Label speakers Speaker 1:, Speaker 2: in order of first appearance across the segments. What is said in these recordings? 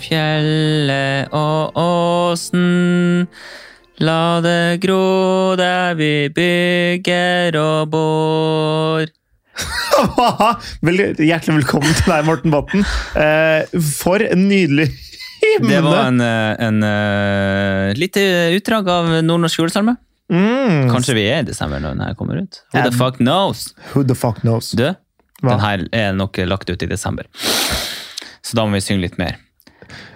Speaker 1: fjellet og åsen. La det gro der vi bygger og bor.
Speaker 2: Vel, hjertelig velkommen til deg, Morten Botten. Eh, for en nydelig hymne!
Speaker 1: Det var en, eh, en eh, lite utdrag av nordnorsk julesalme.
Speaker 2: Mm.
Speaker 1: Kanskje vi er i desember når den her kommer ut. Who
Speaker 2: Ja.
Speaker 1: the fuck knows?
Speaker 2: Who the fuck knows?
Speaker 1: Du,
Speaker 2: Hva?
Speaker 1: den her er nok lagt ut i desember. Så da må vi synge litt mer.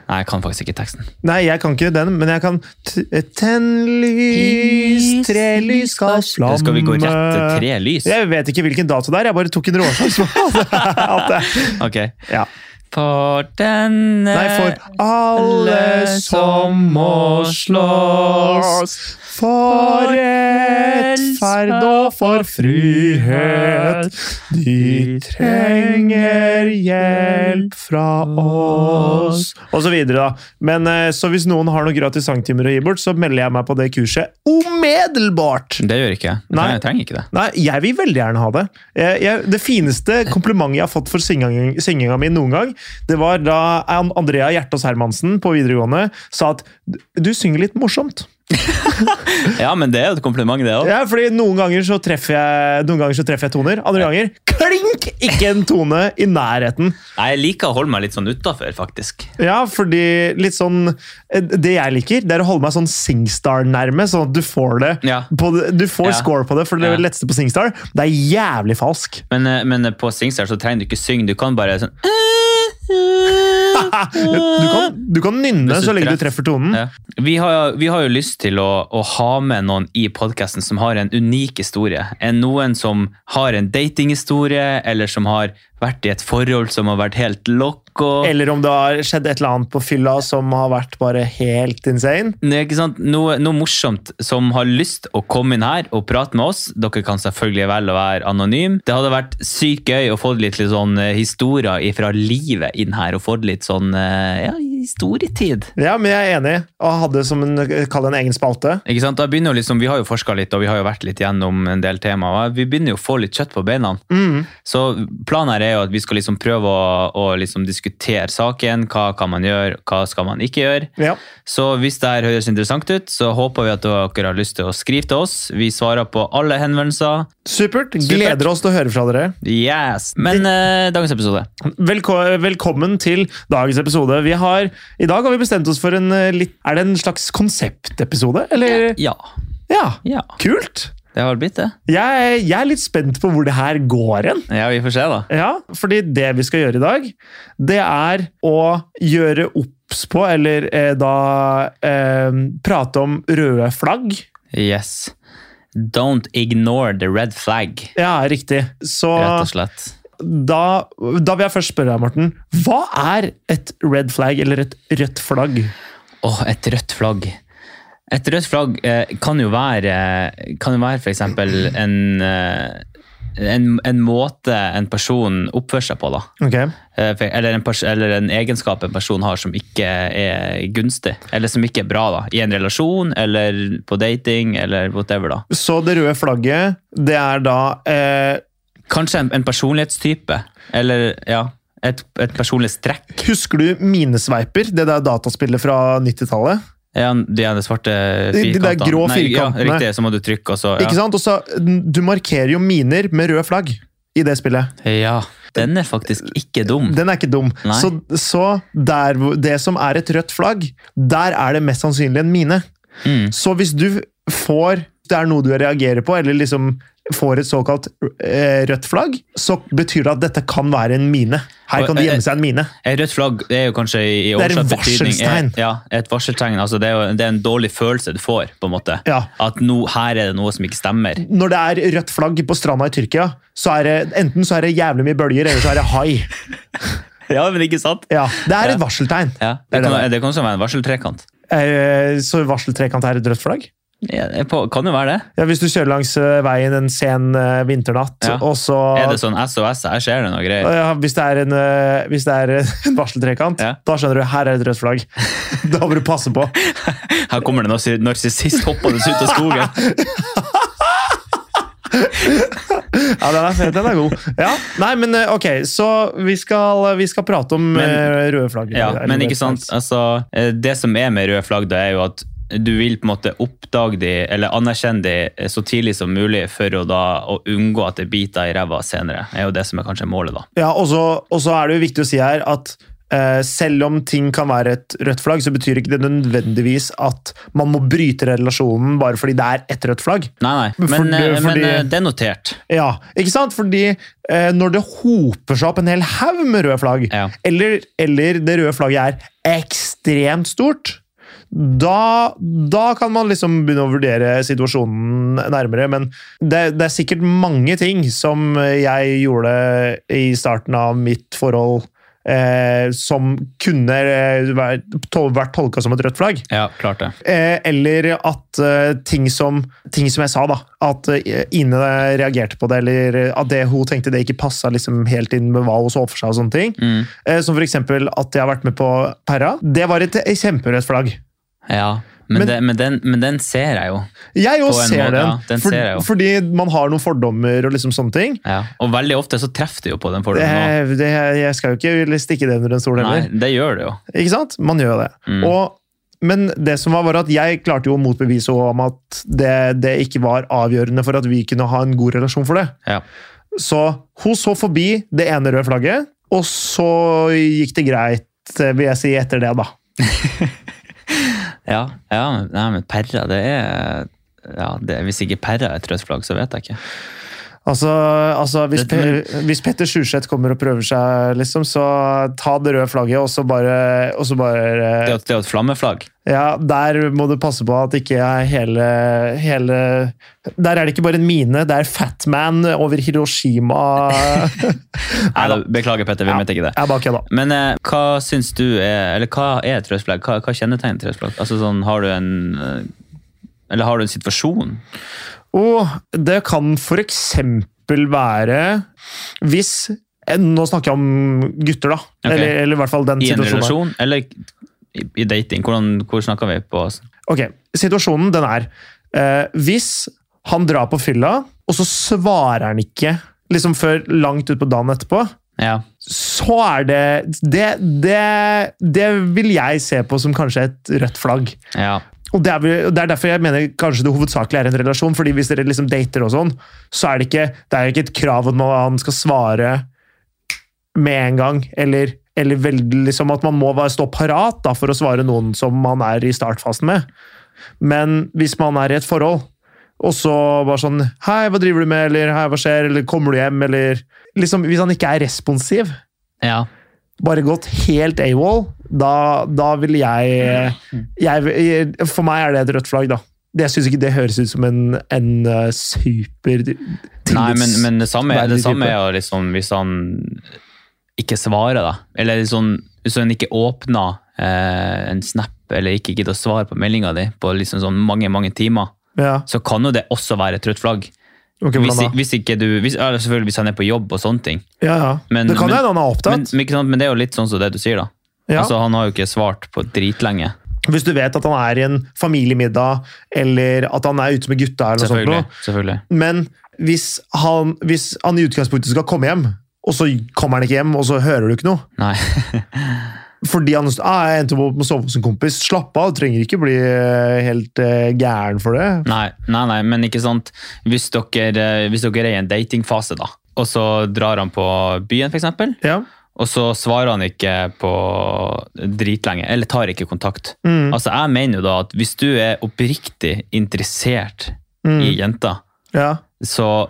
Speaker 1: Nei, jeg kan faktisk ikke teksten.
Speaker 2: Nei, jeg kan ikke den, men jeg kan t- Tenn lys, tre lys skal flamme
Speaker 1: Skal vi gå rett til tre lys?
Speaker 2: Jeg vet ikke hvilken dato det er, jeg bare tok en råsans på at det
Speaker 1: Ok.
Speaker 2: ja.
Speaker 1: For denne
Speaker 2: Nei, for alle som må slåss for rettferd og for frihet. De trenger hjelp fra oss. Og så videre, da. Men eh, så hvis noen har noen gratis sangtimer å gi bort, så melder jeg meg på det kurset umiddelbart!
Speaker 1: Det gjør ikke jeg. Jeg
Speaker 2: Nei.
Speaker 1: trenger- Jeg trenger ikke det.
Speaker 2: Nei, jeg vil veldig gjerne ha det. Jeg, jeg, det fineste komplimentet jeg har fått for synging- synginga mi noen gang, det var da An- Andrea Hjertås Hermansen på videregående sa at du synger litt morsomt.
Speaker 1: Ja, men det er jo et kompliment, det òg.
Speaker 2: Ja, fordi noen ganger så treffer jeg, noen ganger så treffer jeg toner, andre ganger klink! Ikke en tone i nærheten.
Speaker 1: Jeg liker å holde meg litt sånn utafor, faktisk.
Speaker 2: Ja, fordi litt sånn Det jeg liker, det er å holde meg sånn Singstar nærme, sånn at du får det.
Speaker 1: Ja.
Speaker 2: På det du får
Speaker 1: Ja.
Speaker 2: score på det, for det er
Speaker 1: Ja.
Speaker 2: det letteste på Singstar. Det er jævlig falsk.
Speaker 1: Men, eh, men på Singstar så trenger du ikke synge, du kan bare sånn
Speaker 2: Du kan, du kan nynne
Speaker 1: Ah. Hvis du
Speaker 2: så lenge du
Speaker 1: treff-
Speaker 2: treffer tonen.
Speaker 1: ja. vi, har, vi har jo lyst til å, å ha med noen i podkasten som har en unik historie. En noen som har en datinghistorie, eller som har vært i et forhold som har vært helt loco.
Speaker 2: Eller om det har skjedd et eller annet på fylla som har vært bare helt insane.
Speaker 1: Nei, ikke sant? Noe, noe morsomt som har lyst å komme inn her og prate med oss. Dere kan selvfølgelig velge å være anonym. Det hadde vært sykt gøy å få litt, litt sånn eh, historier fra livet inn her, og få litt sånn eh, ja, historietid.
Speaker 2: Ja, men jeg er enig. Og hadde som en, kall det en egen spalte.
Speaker 1: Ikke sant? Da begynner jo liksom, Vi har jo forska litt, og vi har jo vært litt gjennom en del temaer. Vi begynner jo å få litt kjøtt på beina.
Speaker 2: Mm.
Speaker 1: Så planen her er jo at vi skal liksom prøve å, å liksom diskutere saken. Hva kan man gjøre, hva skal man ikke gjøre?
Speaker 2: Ja.
Speaker 1: Så hvis det her høres interessant ut, så håper vi at dere har lyst til å skrive til oss. Vi svarer på alle henvendelser.
Speaker 2: Supert.
Speaker 1: Supert.
Speaker 2: Gleder oss til å høre fra dere.
Speaker 1: Yes! Men eh, dagens episode
Speaker 2: Velko velkommen til dagens episode. Vi har, I dag har vi bestemt oss for en eh, litt Er det en slags konseptepisode, eller?
Speaker 1: Ja.
Speaker 2: Ja.
Speaker 1: ja.
Speaker 2: Kult!
Speaker 1: Det har vel blitt det.
Speaker 2: Jeg, jeg er litt spent på hvor det her går hen.
Speaker 1: Ja, vi får se, da.
Speaker 2: Ja, fordi det vi skal gjøre i dag, det er å gjøre obs på, eller eh, da eh, prate om røde flagg.
Speaker 1: Yes. Don't ignore the red flag,
Speaker 2: Ja, riktig. Så
Speaker 1: rett og slett.
Speaker 2: da, da vil jeg først spørre deg, Morten. Hva er et red flag, eller et rødt flagg?
Speaker 1: Åh, et rødt flagg. Et rødt flagg eh, kan jo være, kan jo være for eksempel en, eh, en, en måte en person oppfører seg på, da.
Speaker 2: Ok,
Speaker 1: Eh, for- Eller en, pers- eller en egenskap en person har som ikke er gunstig, eller som ikke er bra da, i en relasjon, eller på dating, eller whatever. da.
Speaker 2: Så det røde flagget, det er da eh,
Speaker 1: Kanskje en, en personlighetstype, eller ja, et, et personlighetstrekk.
Speaker 2: Husker du minesveiper? Det der dataspillet fra 90-tallet?
Speaker 1: Ja, de er de svarte
Speaker 2: De- de der
Speaker 1: firkantene.
Speaker 2: grå
Speaker 1: Nei,
Speaker 2: firkantene.
Speaker 1: Ja, riktig, så må du trykke, og så ja.
Speaker 2: Ikke sant? Og så, du markerer jo miner med røde flagg i det spillet.
Speaker 1: Ja, den er faktisk ikke dum.
Speaker 2: Den er ikke dum.
Speaker 1: Mm. Nei.
Speaker 2: Så, så der, hvor- det som er et rødt flagg, der er det mest sannsynlig en mine.
Speaker 1: Mm.
Speaker 2: Så hvis du får Det er noe du reagerer på, eller liksom får et såkalt eh, rødt flagg, så betyr det at dette kan være en mine. Her kan det
Speaker 1: eh,
Speaker 2: gjemme seg en mine.
Speaker 1: Et rødt flagg det er jo kanskje i, i
Speaker 2: Det er en
Speaker 1: oversatt betydning-
Speaker 2: varseltegn.
Speaker 1: Ja, et varseltegn. Altså, det, er jo, det er en dårlig følelse du får, på en måte.
Speaker 2: Ja.
Speaker 1: At nå- her er det noe som ikke stemmer.
Speaker 2: Når det er rødt flagg på stranda i Tyrkia, så er det enten så er det jævlig mye bølger, eller så er det hai.
Speaker 1: Ja, men ikke sant?
Speaker 2: Ja, det er et varseltegn.
Speaker 1: Ja,
Speaker 2: Det er
Speaker 1: det, kan,
Speaker 2: det.
Speaker 1: det kan også være en varseltrekant.
Speaker 2: Eh, så varseltrekant er et rødt flagg?
Speaker 1: Ja, det på- kan jo være det.
Speaker 2: Ja, hvis du kjører langs eh, veien en sen eh, vinternatt,
Speaker 1: Ja.
Speaker 2: og så
Speaker 1: Er det sånn SOS, her skjer det noe greier?
Speaker 2: Ja, hvis det er en, eh, hvis det er en varseltrekant,
Speaker 1: Ja.
Speaker 2: da skjønner du her er et rødt flagg. Da må du passe på.
Speaker 1: Her kommer det narsi- narsissist hoppende ut av skogen.
Speaker 2: Ja, den er, den er god. Ja. Nei, men eh, ok, så vi skal, vi skal prate om
Speaker 1: Men-
Speaker 2: eh, røde flagg.
Speaker 1: Ja,
Speaker 2: eller
Speaker 1: men
Speaker 2: red
Speaker 1: ikke sant,
Speaker 2: flags.
Speaker 1: altså, eh, det som er med røde flagg, da er jo at du vil på en måte oppdage de, eller anerkjenne de eh, så tidlig som mulig for å da å unngå at det biter i ræva senere. Det er jo det som er kanskje målet, da.
Speaker 2: Ja, og så, og så er det jo viktig å si her at eh, selv om ting kan være et rødt flagg, så betyr ikke det nødvendigvis at man må bryte relasjonen bare fordi det er et rødt flagg.
Speaker 1: Nei, nei, men,
Speaker 2: Fordi-
Speaker 1: eh, men
Speaker 2: fordi-
Speaker 1: eh, det er notert.
Speaker 2: Ja, ikke sant? Fordi eh, når det hoper seg opp en hel haug med røde flagg,
Speaker 1: Ja.
Speaker 2: eller, eller det røde flagget er ekstremt stort, da, da kan man liksom begynne å vurdere situasjonen nærmere. Men det, det er sikkert mange ting som jeg gjorde i starten av mitt forhold eh, som kunne eh, vært tol- vært tolka som et rødt flagg.
Speaker 1: Ja, klart det.
Speaker 2: Eh, eller at eh, ting, som, ting som jeg sa, da. At eh, Ine reagerte på det, eller at det hun tenkte det ikke passa liksom, helt inn med hva hun så for seg. og sånne ting.
Speaker 1: Mm.
Speaker 2: Eh, som f.eks. at jeg har vært med på Perra. Det var et kjemperødt flagg.
Speaker 1: Ja, men,
Speaker 2: Men-
Speaker 1: det, men, den, men den ser jeg jo.
Speaker 2: Jeg òg
Speaker 1: På en
Speaker 2: ser
Speaker 1: måte,
Speaker 2: den,
Speaker 1: ja, den ser jeg jo.
Speaker 2: fordi man har noen fordommer og liksom sånne ting.
Speaker 1: Ja. Og veldig ofte så treffer det jo på den
Speaker 2: Det,
Speaker 1: fordommen.
Speaker 2: det, jeg skal jo ikke stikke det under en
Speaker 1: også.
Speaker 2: stol
Speaker 1: Nei,
Speaker 2: heller.
Speaker 1: det gjør det jo.
Speaker 2: Ikke sant? Man gjør jo det.
Speaker 1: Mm.
Speaker 2: Og, men det som var, var at jeg klarte jo å motbevise henne om at det, det ikke var avgjørende for at vi kunne ha en god relasjon for det.
Speaker 1: Ja.
Speaker 2: Så hun så forbi det ene røde flagget, og så gikk det greit, eh, vil jeg si, etter det, da.
Speaker 1: Ja, ja men- nei, men perra, det er ja, det, Hvis ikke perra er et rødt flagg, så vet jeg ikke.
Speaker 2: Altså, altså hvis,
Speaker 1: Det-
Speaker 2: Pe hvis Petter Sjurseth kommer og prøver seg, liksom, så ta det røde flagget, og så bare, og så bare eh,
Speaker 1: Det er jo- det er jo et flammeflagg.
Speaker 2: Ja, der må du passe på at ikke er hele, hele Der er det ikke bare en mine, det er Fatman over Hiroshima.
Speaker 1: Nei, da, beklager, Petter, vi mente ikke det.
Speaker 2: Jeg bare kødda.
Speaker 1: Men eh, hva syns du er Eller hva er et rødt flagg? Hva, hva kjennetegner et rødt flagg? Altså, sånn, har du en eh, Eller har du en situasjon?
Speaker 2: Og det kan for eksempel være hvis eh, Nå snakker jeg om gutter, da.
Speaker 1: Ok.
Speaker 2: Eller, eller i hvert fall den
Speaker 1: I en
Speaker 2: situasjonen. her.
Speaker 1: relasjon? Eller i, i dating? Hvordan, hvor snakker vi på? altså?
Speaker 2: Ok, Situasjonen den er eh, Hvis han drar på fylla, og så svarer han ikke liksom før langt utpå dagen etterpå,
Speaker 1: Ja.
Speaker 2: så er det det, det det vil jeg se på som kanskje et rødt flagg.
Speaker 1: ja.
Speaker 2: Og det er, vel- og det er derfor jeg mener kanskje det hovedsakelig er en relasjon. fordi hvis dere liksom dater og sånn, så er det ikke, det er ikke et krav at man- han skal svare med en gang. Eller, eller veldig, liksom at man må være, stå parat da, for å svare noen som man er i startfasen med. Men hvis man er i et forhold, og så bare sånn Hei, hva driver du med? Eller hei, hva skjer? Eller kommer du hjem? Eller liksom, Hvis han ikke er responsiv,
Speaker 1: ja.
Speaker 2: bare gått helt AWOL, da, da vil jeg, jeg For meg er det et rødt flagg, da. Jeg syns ikke det høres ut som en, en eh, super
Speaker 1: Nei, men, men det samme,
Speaker 2: Veldig
Speaker 1: det samme
Speaker 2: type.
Speaker 1: er jo liksom hvis han ikke svarer, da. Eller sånn, hvis han ikke åpner eh, en snap, eller ikke gidder å svare på meldinga di på liksom sånn mange mange timer,
Speaker 2: ja,
Speaker 1: så kan jo det også være et rødt flagg. Hvis,
Speaker 2: ok, hvordan da?
Speaker 1: hvis ikke du, hvis, ja, selvfølgelig hvis han er på jobb og sånne ting.
Speaker 2: Ja, ja.
Speaker 1: Men-
Speaker 2: det kan
Speaker 1: men-
Speaker 2: jo hende han er
Speaker 1: Men,
Speaker 2: opptatt.
Speaker 1: men, ikke sant? men det er jo litt sånn som det du sier, da.
Speaker 2: ja.
Speaker 1: Altså, han har jo ikke svart på dritlenge.
Speaker 2: Hvis du vet at han er i en familiemiddag, eller at han er sånn, ute med gutta. eller noe sånt.
Speaker 1: Selvfølgelig.
Speaker 2: noe.
Speaker 1: selvfølgelig.
Speaker 2: Men hvis han, hvis han i utgangspunktet skal komme hjem, og så kommer han ikke hjem, og så hører du ikke noe
Speaker 1: Nei.
Speaker 2: Fordi han ah, jeg endte opp med å sove hos en kompis. Slapp av, du trenger ikke bli eh, helt eh, gæren for det.
Speaker 1: Nei, nei, nei, men ikke sant. Hvis dere, eh, hvis dere er i en datingfase, da, og så drar han på byen, for eksempel,
Speaker 2: Ja.
Speaker 1: og så svarer han ikke på dritlenge, eller tar ikke kontakt.
Speaker 2: Mm.
Speaker 1: Altså, Jeg mener jo da at hvis du er oppriktig interessert
Speaker 2: Mm.
Speaker 1: i jenta,
Speaker 2: Ja.
Speaker 1: så,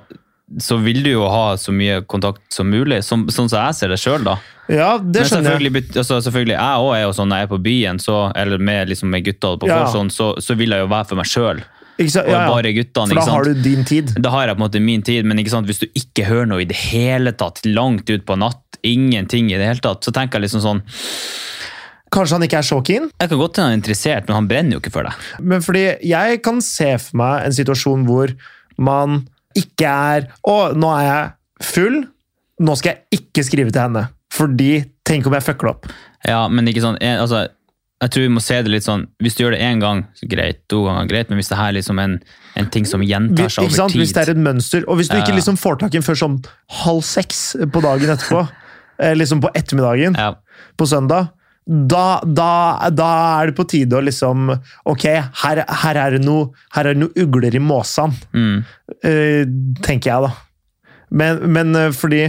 Speaker 1: så vil du jo ha så mye kontakt som mulig, som, sånn som jeg ser det sjøl, da.
Speaker 2: ja, det
Speaker 1: Men
Speaker 2: skjønner jeg.
Speaker 1: selvfølgelig, bet- altså, selvfølgelig, jeg òg er jo sånn når jeg er på byen, så, eller med, liksom, med gutta på
Speaker 2: Ja.
Speaker 1: forhånd, så, så vil jeg jo være for meg sjøl,
Speaker 2: Ikke sant?
Speaker 1: og
Speaker 2: Ja, ja.
Speaker 1: bare guttene.
Speaker 2: For da
Speaker 1: ikke sant?
Speaker 2: har du din tid.
Speaker 1: Da har jeg på en måte min tid, men ikke sant? hvis du ikke hører noe i det hele tatt, langt ut på natt, ingenting i det hele tatt, så tenker jeg liksom sånn
Speaker 2: Kanskje han ikke er så keen,
Speaker 1: Jeg kan godt hende han er interessert, men han brenner jo ikke for deg.
Speaker 2: men fordi jeg kan se for meg en situasjon hvor man ikke er Å, nå er jeg full. Nå skal jeg ikke skrive til henne. Fordi Tenk om jeg fucker det opp.
Speaker 1: Ja, men ikke sånn, eh, altså, jeg tror vi må se det litt sånn Hvis du gjør det én gang, så greit. To ganger, greit. Men hvis det her er liksom en, en ting som gjentar
Speaker 2: Hvis,
Speaker 1: seg
Speaker 2: ikke
Speaker 1: over
Speaker 2: sant?
Speaker 1: tid
Speaker 2: Hvis det er et mønster, og hvis du
Speaker 1: Ja.
Speaker 2: ikke liksom får tak i den før sånn halv seks på dagen etterpå, eh, liksom på ettermiddagen
Speaker 1: ja.
Speaker 2: på søndag, da, da, da er det på tide å liksom Ok, her, her er det noe, her er det noe ugler i måsene,
Speaker 1: mm,
Speaker 2: eh, tenker jeg da. Men, men eh, fordi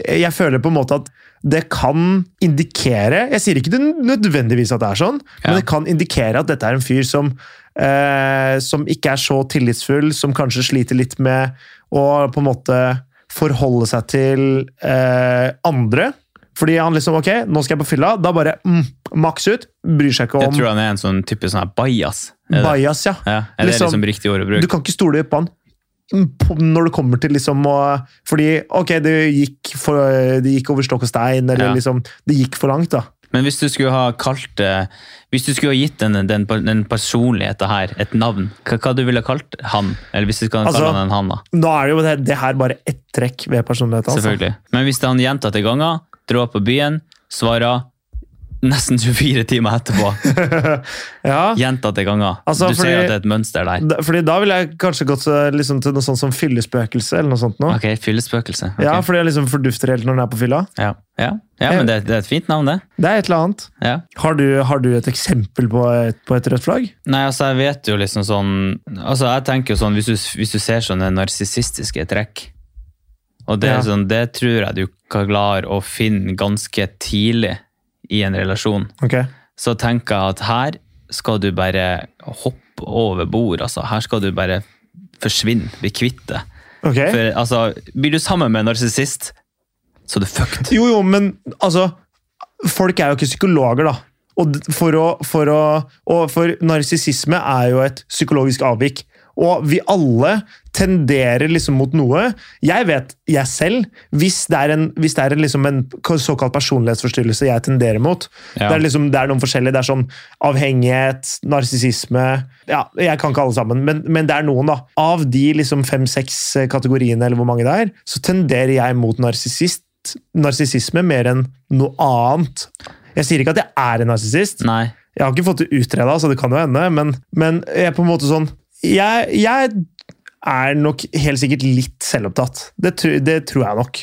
Speaker 2: jeg føler på en måte at det kan indikere Jeg sier ikke det nødvendigvis at det er sånn,
Speaker 1: Ja.
Speaker 2: men det kan indikere at dette er en fyr som, eh, som ikke er så tillitsfull, som kanskje sliter litt med å på en måte forholde seg til eh, andre. Fordi han liksom Ok, nå skal jeg på fylla. Da bare mm, maks ut. Bryr seg ikke
Speaker 1: Jeg
Speaker 2: om
Speaker 1: tror han er en sånn type sånn her bajas. Er det,
Speaker 2: bajas, ja.
Speaker 1: ja, er det
Speaker 2: liksom-
Speaker 1: liksom riktig ord å
Speaker 2: Du
Speaker 1: bruke?
Speaker 2: kan ikke stole på han Mm, på- når det kommer til liksom å Fordi ok, det gikk, for, det gikk over stokk og stein, eller
Speaker 1: Ja.
Speaker 2: liksom Det gikk for langt, da.
Speaker 1: Men hvis du skulle ha kalt det Hvis du skulle ha gitt den, den, den personligheten her et navn, hva, hva du ville kalt han? Eller hvis du kan
Speaker 2: Altså-
Speaker 1: kalle han en han, da.
Speaker 2: Nå er det jo det, det her bare ett trekk ved personligheten. Altså.
Speaker 1: Selvfølgelig. Men hvis det er han gjentatte ganger, drar på byen, svarer nesten 24 timer etterpå,
Speaker 2: Ja.
Speaker 1: gjentatte ganger
Speaker 2: Altså,
Speaker 1: Du
Speaker 2: fordi-
Speaker 1: ser at det er et mønster der.
Speaker 2: Da- Fordi da ville jeg kanskje gått så- liksom, til noe sånt som fyllespøkelse, eller noe sånt noe.
Speaker 1: Ok, fyllespøkelse. Ok.
Speaker 2: Mm. Ja, fordi jeg liksom fordufter helt når den er på fylla.
Speaker 1: Ja. Ja. ja, men det, det er et fint navn, det.
Speaker 2: Det er et eller annet.
Speaker 1: Ja.
Speaker 2: Har du, har du et eksempel på et, på et rødt flagg?
Speaker 1: Nei, altså jeg vet jo liksom sånn Altså jeg tenker jo sånn Hvis du, hvis du ser sånne narsissistiske trekk Og det, er
Speaker 2: Ja.
Speaker 1: sånn, det tror jeg du kan klare å finne ganske tidlig i en relasjon.
Speaker 2: Ok.
Speaker 1: Så tenker jeg at her skal du bare hoppe over bord, altså. Her skal du bare forsvinne, bli kvitt det.
Speaker 2: Ok.
Speaker 1: For altså, blir du sammen med en narsissist, så er du fucked.
Speaker 2: Jo, jo, men altså Folk er jo ikke psykologer, da. Og d- for, å, for, å, og for narsissisme er jo et psykologisk avvik. Og vi alle tenderer liksom mot noe. Jeg vet, jeg selv, hvis det er en, hvis det er en, liksom en såkalt personlighetsforstyrrelse jeg tenderer mot
Speaker 1: Ja.
Speaker 2: det, er liksom, det er noen forskjellige. Det er sånn avhengighet, narsissisme ja, Jeg kan ikke alle sammen, men, men det er noen, da. Av de liksom fem-seks eh, kategoriene, eller hvor mange det er, så tenderer jeg mot narsissist. Narsissisme mer enn noe annet. Jeg sier ikke at jeg er en narsissist.
Speaker 1: Nei.
Speaker 2: Jeg har ikke fått det utreda, så det kan jo hende, men, men jeg er på en måte sånn Jeg, jeg er nok helt sikkert litt selvopptatt. Det, tr- det tror jeg nok.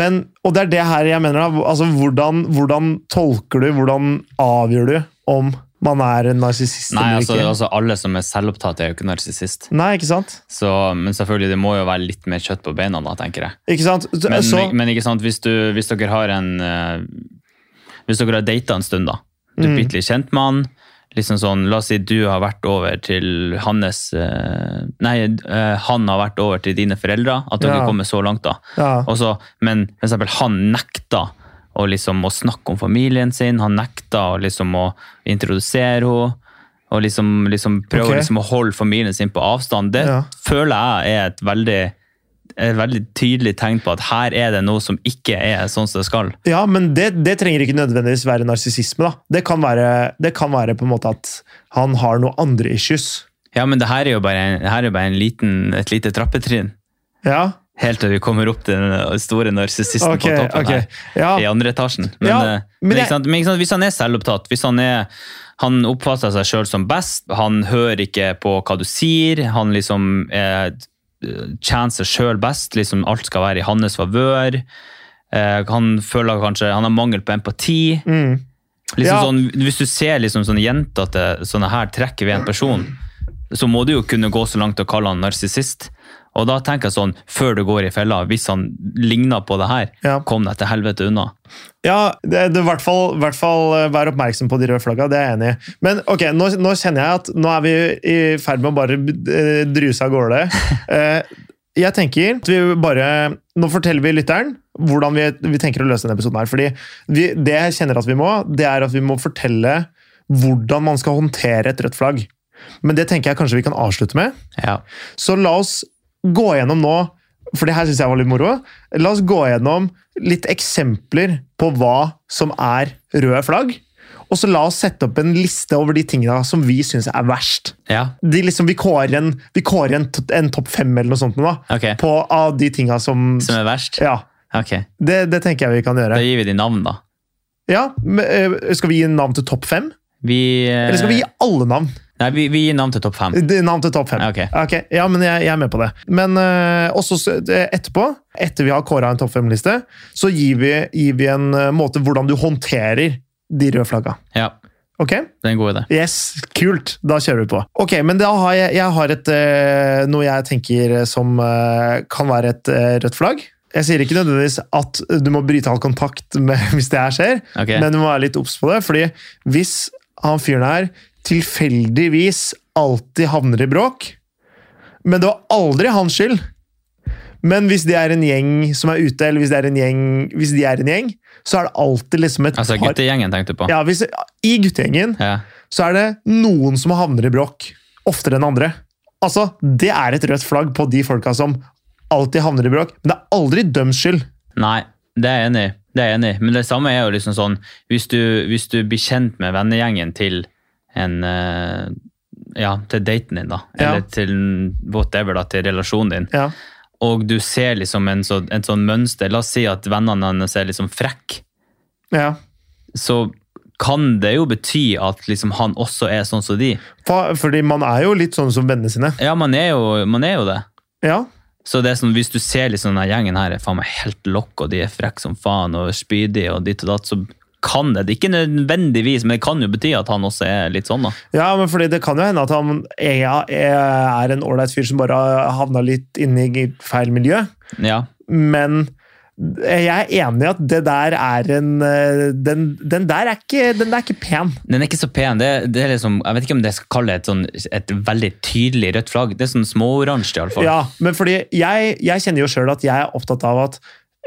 Speaker 2: Men, og det er det her jeg mener. Da. Altså, hvordan, hvordan tolker du, hvordan avgjør du om man er en narsissist
Speaker 1: Nei,
Speaker 2: eller
Speaker 1: altså,
Speaker 2: ikke?
Speaker 1: altså alle som er selvopptatt, er jo ikke narsissist.
Speaker 2: Nei, ikke sant?
Speaker 1: Så, men selvfølgelig, det må jo være litt mer kjøtt på beina, da, tenker jeg.
Speaker 2: Ikke sant? Så,
Speaker 1: Men,
Speaker 2: så,
Speaker 1: men ikke sant, hvis, du, hvis dere har en eh, Hvis dere har data en stund, da. Du er
Speaker 2: Mm.
Speaker 1: bitte litt kjent med han. Liksom sånn, la oss si du har vært over til hans eh, Nei, eh, han har vært over til dine foreldre. At dere
Speaker 2: Ja.
Speaker 1: kommer så langt, da.
Speaker 2: ja.
Speaker 1: Og så- men for eksempel, han nekta å, liksom, å snakke om familien sin. Han nekta å, liksom, å introdusere henne. Og liksom, liksom prøve
Speaker 2: Ok.
Speaker 1: å liksom, å holde familien sin på avstand. Det
Speaker 2: Ja.
Speaker 1: føler jeg er et veldig, et veldig tydelig tegn på at her er det noe som ikke er sånn som det skal.
Speaker 2: Ja, men det, det trenger ikke nødvendigvis være narsissisme. da. Det kan være, det kan være på en måte at han har noen andre issues.
Speaker 1: Ja, men det her er jo bare, en, det her er bare en liten, et lite trappetrinn.
Speaker 2: Ja,
Speaker 1: Helt til vi kommer opp til den store narsissisten
Speaker 2: ok.
Speaker 1: på toppen.
Speaker 2: ok.
Speaker 1: her.
Speaker 2: Ja,
Speaker 1: i andre etasjen. Men,
Speaker 2: Ja,
Speaker 1: eh,
Speaker 2: men
Speaker 1: men,
Speaker 2: jeg-
Speaker 1: ikke sant? men ikke sant? hvis han er selvopptatt, hvis han, er, han oppfatter seg sjøl som best, han hører ikke på hva du sier, han liksom eh, tjener seg sjøl best, liksom alt skal være i hans favør. Eh, han føler kanskje Han har mangel på empati.
Speaker 2: Mm.
Speaker 1: Liksom
Speaker 2: Ja.
Speaker 1: sånn, hvis du ser liksom sånne jentete sånne her trekk ved en person, så må du jo kunne gå så langt og kalle han narsissist. Og da tenker jeg sånn, før du går i fella, hvis han ligner på det her,
Speaker 2: Ja.
Speaker 1: kom deg til helvete unna.
Speaker 2: Ja, det, det, i hvert fall, hvert fall eh, vær oppmerksom på de røde flagga, det er jeg enig i. Men ok, nå, nå kjenner jeg at nå er vi i ferd med å bare eh, druse av gårde. Eh, Jeg tenker at vi bare Nå forteller vi lytteren hvordan vi, vi tenker å løse denne episoden her. Fordi vi, det jeg kjenner at vi må, det er at vi må fortelle hvordan man skal håndtere et rødt flagg. Men det tenker jeg kanskje vi kan avslutte med.
Speaker 1: Ja.
Speaker 2: Så la oss gå gjennom nå, for det her syns jeg var litt moro. La oss gå gjennom litt eksempler på hva som er røde flagg. Og så la oss sette opp en liste over de tingene som vi syns er verst.
Speaker 1: Ja,
Speaker 2: De liksom, vi kårer en, vi kårer en, t- en topp fem eller noe sånt nå, da,
Speaker 1: ok.
Speaker 2: på, av de tinga som
Speaker 1: Som er verst?
Speaker 2: Ja.
Speaker 1: Ok,
Speaker 2: Det, det tenker jeg vi kan
Speaker 1: da
Speaker 2: gjøre.
Speaker 1: gir vi de navn da.
Speaker 2: Ja, men, eh, Skal vi gi navn til topp fem?
Speaker 1: Vi, eh,
Speaker 2: Eller skal vi gi alle navn?
Speaker 1: Nei, vi, vi gir navn til topp fem.
Speaker 2: Det- Navn til topp fem.
Speaker 1: Ok.
Speaker 2: Ah, Ok, Ja, men jeg, jeg er med på det. Men eh, også s- eh, etterpå, etter vi har kåra en topp fem-liste, så gir vi, gir vi en eh, måte hvordan du håndterer de røde flagga.
Speaker 1: Ja,
Speaker 2: Ok?
Speaker 1: det er en god idé.
Speaker 2: Yes, kult! Da kjører vi på. Ok, men da har jeg, jeg har et eh, noe jeg tenker som eh, kan være et eh, rødt flagg. Jeg sier ikke nødvendigvis at du må bryte all kontakt med, hvis det her skjer,
Speaker 1: Ok.
Speaker 2: men du må være litt obs på det. fordi hvis han fyren her tilfeldigvis alltid havner i bråk Men det var aldri hans skyld. Men hvis de er en gjeng som er ute, eller hvis, det er en gjeng, hvis de er en gjeng, så er det alltid liksom et
Speaker 1: Altså
Speaker 2: par
Speaker 1: guttegjengen tenkte du på?
Speaker 2: ja, hvis, I guttegjengen
Speaker 1: Ja.
Speaker 2: så er det noen som havner i bråk oftere enn andre. Altså, Det er et rødt flagg på de folka som alltid havner i bråk, men det er aldri døms skyld.
Speaker 1: Nei, det er jeg enig i. Det er jeg enig i. Men det samme er jo liksom sånn Hvis du, hvis du blir kjent med vennegjengen til en eh, Ja, til daten din, da.
Speaker 2: Ja.
Speaker 1: Eller til whatever, da, til relasjonen din.
Speaker 2: Ja,
Speaker 1: Og du ser liksom en, så, en sånn mønster La oss si at vennene hennes er liksom frekk,
Speaker 2: ja.
Speaker 1: så kan det jo bety at liksom han også er sånn som de.
Speaker 2: For, fordi man er jo litt sånn som vennene sine.
Speaker 1: Ja, man er jo, man er jo det.
Speaker 2: Ja,
Speaker 1: Så det er sånn, Hvis du ser liksom denne gjengen her er faen meg helt lokk, og de er frekke som faen og spydige, og ditt og datt, så kan det det er Ikke nødvendigvis, men det kan jo bety at han også er litt sånn. da.
Speaker 2: ja men fordi det kan jo hende at han er, er en ålreit fyr som bare har havna litt inne i feil miljø.
Speaker 1: Ja,
Speaker 2: Men jeg er enig i at det der er en eh, Den, den der er ikke, den der er ikke pen.
Speaker 1: Den er ikke så pen. Det, det er liksom, Jeg vet ikke om jeg skal kalle det et, sånn, et veldig tydelig rødt flagg. Det er sånn småoransje, iallfall.
Speaker 2: Ja, men fordi jeg, jeg kjenner jo sjøl at jeg er opptatt av at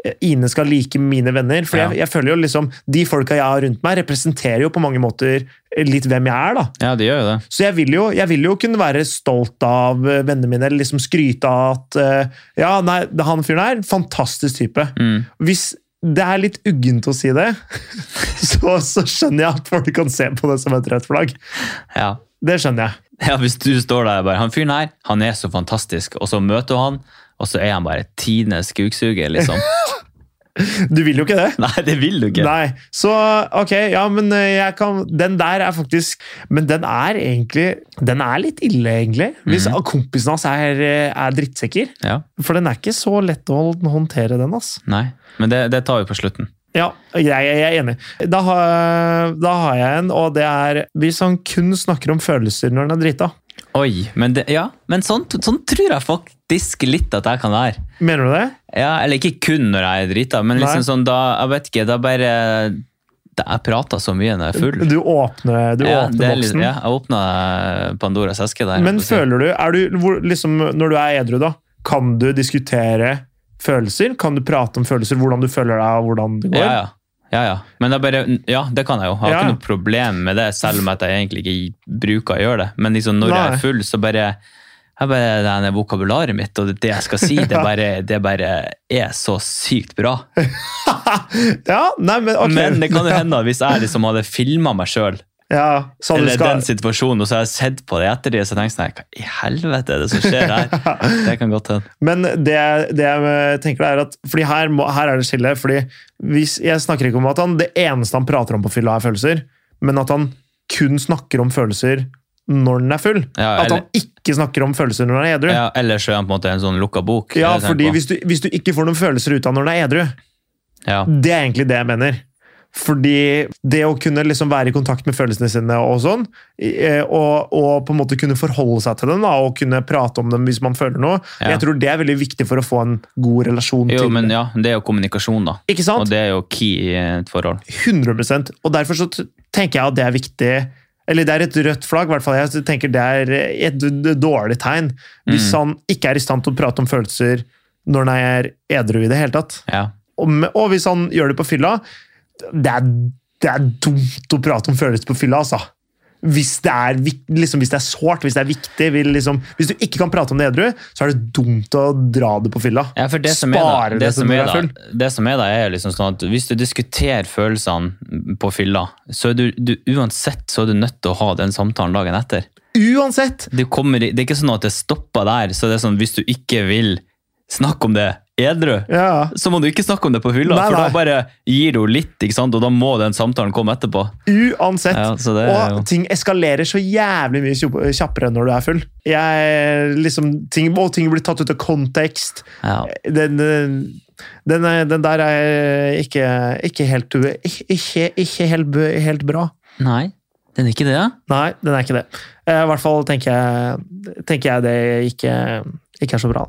Speaker 2: eh, Ine skal like mine venner. For
Speaker 1: Ja.
Speaker 2: jeg, jeg føler jo liksom, De folka jeg har rundt meg, representerer jo på mange måter eh, litt hvem jeg er. da.
Speaker 1: ja, det gjør jo det.
Speaker 2: Så jeg vil jo, jeg vil jo kunne være stolt av eh, vennene mine, eller liksom skryte av at eh, Ja, nei, det- han fyren her, fantastisk type.
Speaker 1: Mm.
Speaker 2: Hvis det er litt uggent å si det, så, så skjønner jeg at folk kan se på det som et rødt flagg.
Speaker 1: Ja.
Speaker 2: Det skjønner jeg.
Speaker 1: ja, Hvis du står der og bare Han fyren her, han er så fantastisk, og så møter du han, og så er han bare tidenes kuksuger, liksom.
Speaker 2: Du vil jo ikke det.
Speaker 1: Nei, det vil du ikke.
Speaker 2: Nei, så ok, ja, men eh, jeg kan Den der er faktisk Men den er egentlig Den er litt ille, egentlig. Hvis
Speaker 1: Mhm.
Speaker 2: kompisen hans er, eh, er drittsekker.
Speaker 1: Ja,
Speaker 2: For den er ikke så lett å hå- håndtere, den, ass.
Speaker 1: nei. Men det, det tar vi på slutten.
Speaker 2: Ja, jeg, jeg er enig. Da har, da har jeg en, og det er hvis han kun snakker om følelser når han er drita.
Speaker 1: Oi, men, det, ja, men sånn, sånn tror jeg faktisk litt at jeg kan være.
Speaker 2: Mener du det?
Speaker 1: Ja, eller ikke kun når jeg er drita, men liksom
Speaker 2: Nei.
Speaker 1: sånn da, jeg vet ikke, da bare da Jeg prater så mye når jeg er full.
Speaker 2: Du åpner, du
Speaker 1: ja, det
Speaker 2: åpner
Speaker 1: er litt-
Speaker 2: boksen.
Speaker 1: ja, jeg åpna Pandoras eske der.
Speaker 2: Men
Speaker 1: holdt på å si.
Speaker 2: føler du, er du hvor, liksom, Når du er edru, da, kan du diskutere følelser? Kan du prate om følelser, hvordan du føler deg, og hvordan det går?
Speaker 1: ja, ja. Ja, ja. Men jeg bare, ja, det kan jeg jo. Jeg har
Speaker 2: Ja, ja.
Speaker 1: ikke noe problem med det, selv om at jeg egentlig ikke bruker å gjøre det. Men liksom, når jeg
Speaker 2: Nei.
Speaker 1: er full, så bare jeg bare, det er Vokabularet mitt og det jeg skal si, det bare, det bare er så sykt bra.
Speaker 2: Ja, nei, men, ok.
Speaker 1: Men det kan jo hende at hvis jeg liksom hadde filma meg sjøl,
Speaker 2: ja, så du
Speaker 1: eller
Speaker 2: skal,
Speaker 1: den situasjonen, og så har jeg sett på det etter det, så tenker jeg sånn her, Hva i helvete er det som skjer her? Det kan godt hende.
Speaker 2: Men det, det jeg tenker er at Fordi her, må, her er det skille. Fordi hvis, jeg snakker ikke om at han, det eneste han prater om på fylla, er følelser, men at han kun snakker om følelser når den er full.
Speaker 1: Ja,
Speaker 2: at han ikke snakker om følelser når han er edru.
Speaker 1: Ja,
Speaker 2: Ja,
Speaker 1: ellers er han på en måte en sånn lukka bok. er det jeg
Speaker 2: fordi
Speaker 1: tenker på.
Speaker 2: hvis du, hvis du ikke får noen følelser ut av når den er edru,
Speaker 1: ja.
Speaker 2: Det er egentlig det jeg mener. Fordi det å kunne liksom være i kontakt med følelsene sine og sånn, eh, og, og på en måte kunne forholde seg til dem da, og kunne prate om dem hvis man føler noe,
Speaker 1: Ja.
Speaker 2: jeg tror det er veldig viktig for å få en god relasjon
Speaker 1: Jo,
Speaker 2: til
Speaker 1: men ja, det er jo kommunikasjon, da.
Speaker 2: Ikke
Speaker 1: Og
Speaker 2: sant?
Speaker 1: det er jo key i et forhold.
Speaker 2: 100 Og derfor så t- tenker jeg at det er viktig eller det er et rødt flagg, i hvert fall. Jeg tenker det er et d- d- dårlig tegn hvis
Speaker 1: Mm.
Speaker 2: han ikke er i stand til å prate om følelser når han er edru i det hele tatt.
Speaker 1: Ja.
Speaker 2: Og, med- og hvis han gjør det på fylla det er, det er dumt å prate om følelser på fylla, altså. Hvis det er, vik- liksom, hvis det er sårt, hvis det er viktig vil liksom, Hvis du ikke kan prate om det edru, så er det dumt å dra det på fylla.
Speaker 1: Ja, for det som er da,
Speaker 2: Spare
Speaker 1: det
Speaker 2: det til
Speaker 1: som
Speaker 2: når
Speaker 1: er
Speaker 2: du
Speaker 1: da,
Speaker 2: er
Speaker 1: det som er da, er jo liksom sånn at hvis du diskuterer følelsene på fylla, så er du, du uansett så er du nødt til å ha den samtalen dagen etter.
Speaker 2: Uansett!
Speaker 1: Du kommer, i- det er ikke sånn at det stopper der, så det er sånn hvis du ikke vil snakke om det edru,
Speaker 2: Ja.
Speaker 1: så må du ikke snakke om det på hylla,
Speaker 2: Nei,
Speaker 1: for da
Speaker 2: nei.
Speaker 1: bare gir du litt, ikke sant? og da må den samtalen komme etterpå.
Speaker 2: Uansett.
Speaker 1: Ja, så det er jo...
Speaker 2: Og ting eskalerer så jævlig mye kjapp- kjappere når du er full. Jeg, liksom, ting, og ting blir tatt ut av kontekst.
Speaker 1: Ja.
Speaker 2: Den, eh, den, er- den der er ikke, ikke helt u- Ikke, ikke helt, b- helt bra.
Speaker 1: Nei, den er ikke det, ja?
Speaker 2: Nei, den er ikke det. Eh, I hvert fall tenker jeg, tenker jeg det ikke, ikke er så bra.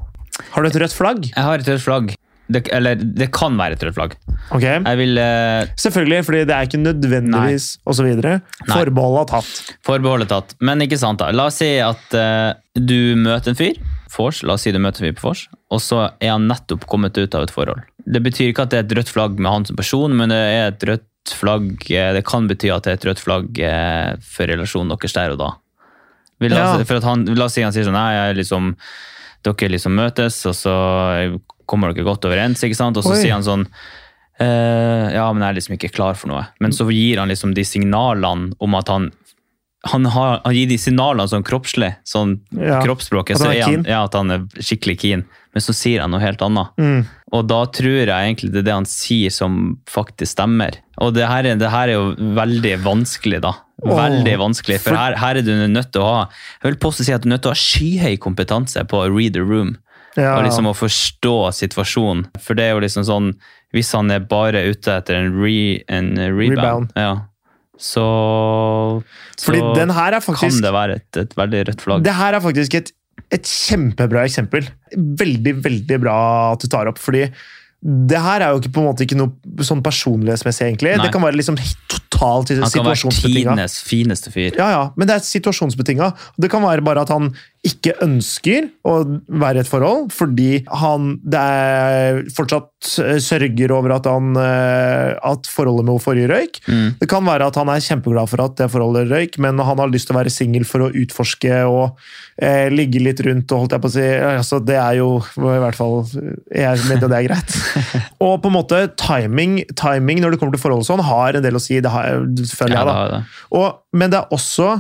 Speaker 2: Har du et rødt flagg?
Speaker 1: Jeg har et rødt flagg. Det, eller, det kan være et rødt flagg.
Speaker 2: Ok.
Speaker 1: Jeg vil eh,
Speaker 2: Selvfølgelig, fordi det er ikke nødvendigvis osv.
Speaker 1: Nei.
Speaker 2: Forbeholdet er tatt.
Speaker 1: forbeholde tatt. Men ikke sant, da. La oss si at eh, du møter en fyr. Fors, la oss si du møter en fyr på vors, og så er han nettopp kommet ut av et forhold. Det betyr ikke at det er et rødt flagg med han som person, men det er et rødt flagg eh, Det kan bety at det er et rødt flagg eh, for relasjonen deres der og da. Vi la,
Speaker 2: Ja.
Speaker 1: oss- for at han, la oss si han sier sånn Nei, jeg er liksom dere liksom møtes, og så kommer dere godt overens, ikke sant? Og så
Speaker 2: Oi.
Speaker 1: sier han sånn eh, Ja, men jeg er liksom ikke klar for noe. Men så gir han liksom de signalene om at han han, har, han gir de signalene sånn kroppslig, sånn
Speaker 2: Ja.
Speaker 1: kroppsspråket,
Speaker 2: At
Speaker 1: så
Speaker 2: han er
Speaker 1: er han,
Speaker 2: keen.
Speaker 1: ja, at han er skikkelig keen. Men så sier han noe helt annet.
Speaker 2: Mm.
Speaker 1: Og da tror jeg egentlig det er det han sier som faktisk stemmer. Og det her, er- det her er jo veldig vanskelig, da. Veldig vanskelig, for her, her er du nødt til å ha Jeg vil påstå si at du er nødt til å ha skyhøy kompetanse på å read the room.
Speaker 2: Ja.
Speaker 1: Og liksom å forstå situasjonen. For det er jo liksom sånn Hvis han er bare ute etter en, re, en rebound,
Speaker 2: Rebound.
Speaker 1: Ja, så, så
Speaker 2: Fordi den her er faktisk
Speaker 1: kan det være et, et veldig rødt flagg.
Speaker 2: Det her er faktisk et, et kjempebra eksempel. Veldig, veldig bra at du tar opp, fordi det her er jo ikke, på en måte ikke noe sånn personlighetsmessig, egentlig.
Speaker 1: Nei.
Speaker 2: Det kan være liksom helt totalt
Speaker 1: han kan være
Speaker 2: situasjonsbetinga.
Speaker 1: tidenes fineste fyr.
Speaker 2: Ja, ja, men det er situasjonsbetinga. Det kan være bare at han ikke ønsker å være i et forhold, fordi han det er fortsatt eh, sørger over at, han, eh, at forholdet med henne forrige røyk.
Speaker 1: Mm.
Speaker 2: Det kan være at han er kjempeglad for at det forholdet røyk, men han har lyst til å være singel for å utforske og eh, ligge litt rundt. og holdt jeg på å si, altså Det er jo i hvert fall Jeg mener det er greit. og på en måte, timing, timing når det kommer til forhold og sånn, har en del å si. Det har, føler
Speaker 1: Ja,
Speaker 2: jeg, da.
Speaker 1: det har det.
Speaker 2: Og, men det er også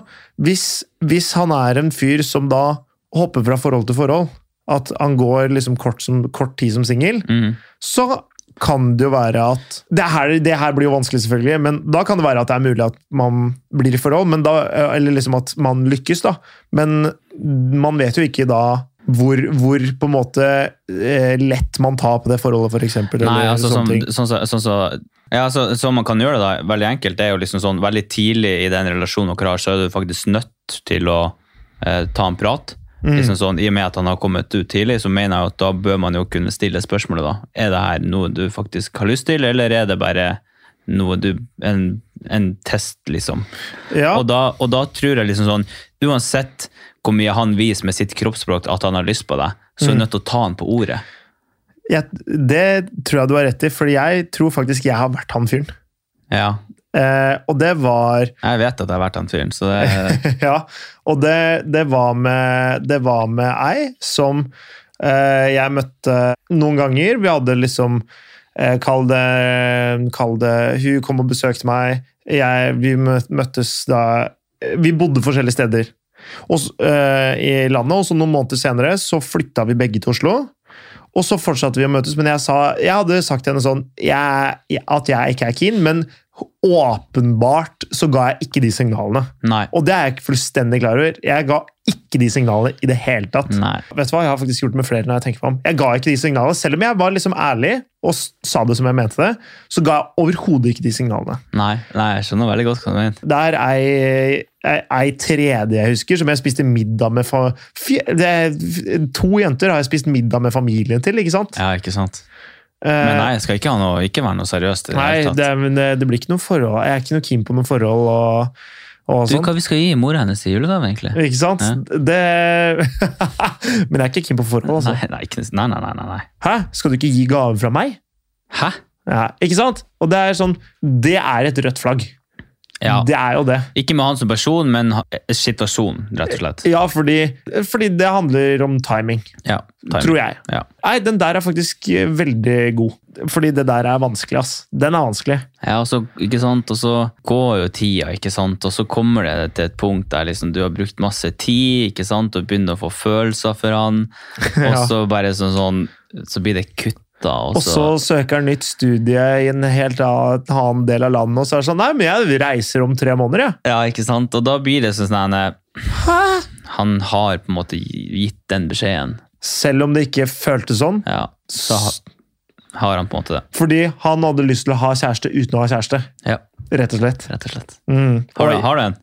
Speaker 2: hvis, hvis han er en fyr som da hopper fra forhold til forhold, at han går liksom kort, som, kort tid som singel,
Speaker 1: Mm.
Speaker 2: så kan det jo være at det her, det her blir jo vanskelig, selvfølgelig, men da kan det være at det er mulig at man blir i forhold, men da, eller liksom at man lykkes, da. Men man vet jo ikke da hvor, hvor på en måte eh, lett man tar på det forholdet, for eksempel.
Speaker 1: Nei,
Speaker 2: eller
Speaker 1: altså
Speaker 2: sånne
Speaker 1: som,
Speaker 2: ting.
Speaker 1: sånn så, sånn så, ja, altså, så man kan gjøre det da, veldig enkelt, det er jo liksom sånn veldig tidlig i den relasjonen dere har, så er du faktisk nødt til å eh, ta en prat.
Speaker 2: Mm.
Speaker 1: Liksom sånn, I og med at han har kommet ut tidlig, så mener jeg jo at da bør man jo kunne stille spørsmålet da. Er det her noe du faktisk har lyst til, eller er det bare noe du, en, en test liksom?
Speaker 2: ja.
Speaker 1: Og, da, og da tror jeg liksom sånn, uansett hvor mye han viser med sitt kroppsspråk at han har lyst på deg, så er
Speaker 2: Mm.
Speaker 1: du nødt til å ta han på ordet.
Speaker 2: jeg, det tror jeg du har rett i, for jeg tror faktisk jeg har vært han fyren.
Speaker 1: Ja,
Speaker 2: Eh, og det var
Speaker 1: jeg vet at jeg har vært den fyren, så det
Speaker 2: Ja, og det, det, var, med, det var med ei som eh, jeg møtte noen ganger. Vi hadde liksom eh, Kall det, kall det Hun kom og besøkte meg. Jeg, vi mø- møttes da Vi bodde forskjellige steder og, s- eh, i landet, og så noen måneder senere så flytta vi begge til Oslo. Og så fortsatte vi å møtes, men jeg, sa, jeg hadde sagt til henne sånn jeg, jeg- at jeg ikke er keen, men åpenbart så ga jeg ikke de signalene.
Speaker 1: Nei.
Speaker 2: Og det er jeg ikke fullstendig klar over. Jeg ga ikke de signalene i det hele tatt.
Speaker 1: Nei.
Speaker 2: Vet du hva, Jeg har faktisk gjort det med flere når jeg tenker meg om. Jeg ga ikke de signalene, Selv om jeg var liksom ærlig og s- sa det som jeg mente det, så ga jeg overhodet ikke de signalene.
Speaker 1: Nei. Nei, jeg skjønner veldig godt hva du mener.
Speaker 2: Det er ei, ei, ei tredje jeg husker, som jeg spiste middag med fa fj- det er, To jenter har jeg spist middag med familien til, ikke sant?
Speaker 1: Ja, ikke sant.
Speaker 2: Eh,
Speaker 1: Men nei, jeg skal ikke, ha noe, ikke være noe seriøst. i det
Speaker 2: nei
Speaker 1: hele tatt.
Speaker 2: det, men eh, det, det blir ikke noe forhold. Jeg er ikke noe keen på noe forhold og, og
Speaker 1: Du,
Speaker 2: sånn.
Speaker 1: hva vi skal gi mora hennes i julegave, egentlig?
Speaker 2: Ikke sant?
Speaker 1: Ja.
Speaker 2: Det Men jeg er ikke keen på forhold, altså.
Speaker 1: Nei, nei, ikke, nei, nei, nei, nei, nei.
Speaker 2: Hæ? Skal du ikke gi gave fra meg?
Speaker 1: Hæ?
Speaker 2: Ja, ikke sant? Og det er sånn Det er et rødt flagg.
Speaker 1: Ja.
Speaker 2: Det er jo det.
Speaker 1: Ikke med han som person, men ha- situasjonen, rett og slett.
Speaker 2: Ja, fordi, fordi det handler om timing,
Speaker 1: Ja, timing.
Speaker 2: tror jeg.
Speaker 1: Ja.
Speaker 2: Nei, den der er faktisk eh, veldig god. Fordi det der er vanskelig, ass. Den er vanskelig.
Speaker 1: Ja, og så, ikke sant? Og så går jo tida, ikke sant? og så kommer det til et punkt der liksom, du har brukt masse tid ikke sant? og begynner å få følelser for han. Og
Speaker 2: Ja.
Speaker 1: så bare sånn, sånn så blir det kutta.
Speaker 2: Og så søker han nytt studie i en helt annen annen del av landet, og så er det sånn Nei, men jeg reiser om tre måneder, jeg.
Speaker 1: Ja, ikke sant? Og da blir det sånn sånn her,
Speaker 2: Hæ?
Speaker 1: Han har på en måte gitt den beskjeden.
Speaker 2: Selv om det ikke føltes sånn.
Speaker 1: Ja, så ha- har han på en måte det.
Speaker 2: Fordi han hadde lyst til å ha kjæreste uten å ha kjæreste.
Speaker 1: Ja,
Speaker 2: Rett og slett.
Speaker 1: rett og slett.
Speaker 2: Mm.
Speaker 1: Har du,
Speaker 2: Oi.
Speaker 1: har du en?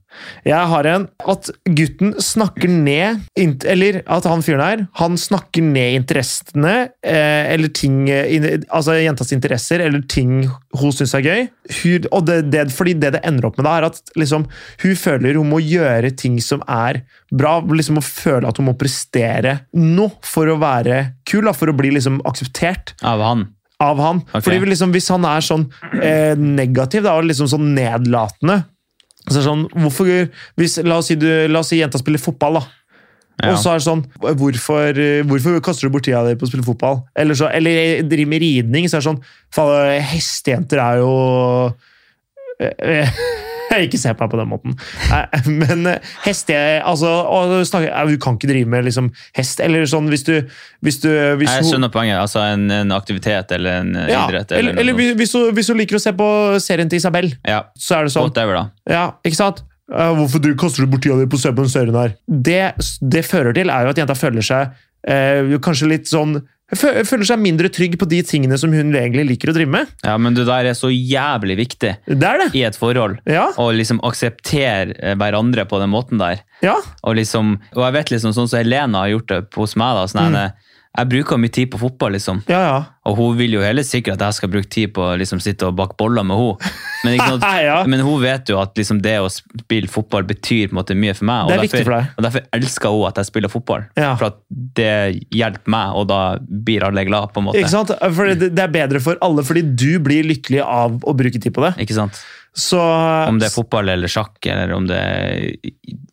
Speaker 2: Jeg har en at gutten snakker ned int- Eller at han fyren her, han snakker ned interessene eh, eller ting eh, in- Altså jentas interesser eller ting hun syns er gøy. Hun, og det, det, fordi det det ender opp med, da, er at liksom, hun føler hun må gjøre ting som er bra. liksom Hun føler at hun må prestere noe for å være kul, da, for å bli liksom akseptert
Speaker 1: Av han?
Speaker 2: av han.
Speaker 1: Ok.
Speaker 2: Fordi vi liksom, Hvis han er sånn eh, negativ da, og liksom sånn nedlatende så er det sånn, hvorfor, hvis, la, oss si du, la oss si jenta spiller fotball, da.
Speaker 1: Ja.
Speaker 2: Og så er det sånn hvorfor, eh, hvorfor kaster du bort tida di på å spille fotball? Eller, så, eller jeg driver med ridning, så er det sånn faen, Hestejenter er jo Eh, eh, Ikke se på meg på den måten. Nei, Men eh, heste altså, og snakke, eh, Du kan ikke drive med liksom, hest Eller sånn hvis du, hvis du hvis
Speaker 1: Jeg
Speaker 2: hun-
Speaker 1: skjønner poenget. Altså en, en aktivitet eller en eh,
Speaker 2: ja,
Speaker 1: idrett.
Speaker 2: eller,
Speaker 1: Eller,
Speaker 2: eller
Speaker 1: noe sånt.
Speaker 2: hvis, hvis, du, hvis du liker å se på serien til Isabel,
Speaker 1: Ja,
Speaker 2: så er det sånn
Speaker 1: whatever, da.
Speaker 2: Ja, ikke sant? Eh, hvorfor du kaster du bort tida di på å se på den serien her? Det det fører til, er jo at jenta føler seg eh, kanskje litt sånn fø- Føler seg mindre trygg på de tingene som hun egentlig liker å drive med.
Speaker 1: Ja, Men det der er så jævlig viktig
Speaker 2: Det er det!
Speaker 1: i et forhold.
Speaker 2: Ja.
Speaker 1: Å liksom akseptere eh, hverandre på den måten der.
Speaker 2: ja.
Speaker 1: Og liksom, og jeg vet liksom sånn som Helena har gjort det hos meg. da, sånn
Speaker 2: Mm.
Speaker 1: her, Jeg bruker mye tid på fotball, liksom.
Speaker 2: Ja, ja.
Speaker 1: Og hun vil jo heller sikkert at jeg skal bruke tid på å liksom sitte og bakke boller med henne. Men, ikke sant?
Speaker 2: ja.
Speaker 1: men hun vet jo at liksom det å spille fotball betyr på en måte mye for meg.
Speaker 2: Det er viktig for deg.
Speaker 1: og derfor elsker hun at jeg spiller fotball.
Speaker 2: Ja.
Speaker 1: For at det hjelper meg, og da blir alle glad på en måte.
Speaker 2: Ikke sant? For det, det er bedre for alle, fordi du blir lykkelig av å bruke tid på det.
Speaker 1: Ikke sant?
Speaker 2: Så
Speaker 1: Om det er fotball eller sjakk, eller om det er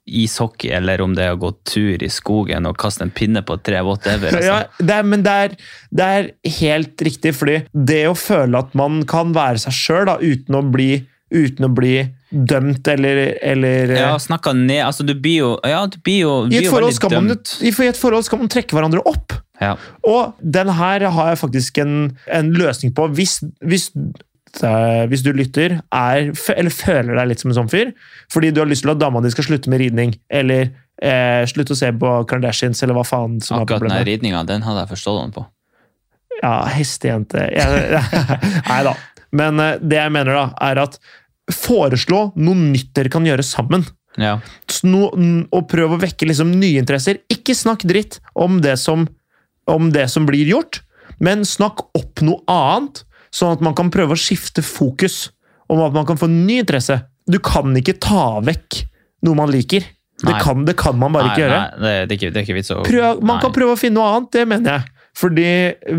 Speaker 1: ishockey, eller om det er å gå tur i skogen og kaste en pinne på et tre, whatever. Altså.
Speaker 2: Ja, det er, men det er, det er helt riktig, fordi det å føle at man kan være seg sjøl uten, å bli- uten å bli dømt eller, eller eh,
Speaker 1: Ja, snakka ned Altså, du blir jo Ja, du blir jo,
Speaker 2: I
Speaker 1: blir
Speaker 2: et,
Speaker 1: jo
Speaker 2: forhold
Speaker 1: veldig
Speaker 2: skal man,
Speaker 1: dømt.
Speaker 2: I et forhold skal man trekke hverandre opp.
Speaker 1: Ja.
Speaker 2: Og den her har jeg faktisk en, en løsning på. Hvis, hvis, eh, hvis du lytter, er, fø- eller føler deg litt som en sånn fyr, fordi du har lyst til at dama di skal slutte med ridning, eller eh, slutte å se på Kardashians, eller hva faen som er
Speaker 1: Akkurat den
Speaker 2: problemet.
Speaker 1: ridninga, den hadde jeg forstått den på.
Speaker 2: Ja, hestejente Jeg- Nei da. Men eh, det jeg mener, da, er at foreslå noe nytt dere kan gjøre sammen.
Speaker 1: Ja.
Speaker 2: Så No, n- og prøv å vekke liksom nye interesser. Ikke snakk dritt om det, som, om det som blir gjort, men snakk opp noe annet, sånn at man kan prøve å skifte fokus. Om at man kan få en ny interesse. Du kan ikke ta vekk noe man liker. Det
Speaker 1: Nei.
Speaker 2: kan, det kan man bare
Speaker 1: nei,
Speaker 2: ikke gjøre.
Speaker 1: Nei, det, det, er ikke, det er ikke vits å
Speaker 2: Prøv, man kan
Speaker 1: nei.
Speaker 2: prøve å finne noe annet, det mener jeg. Fordi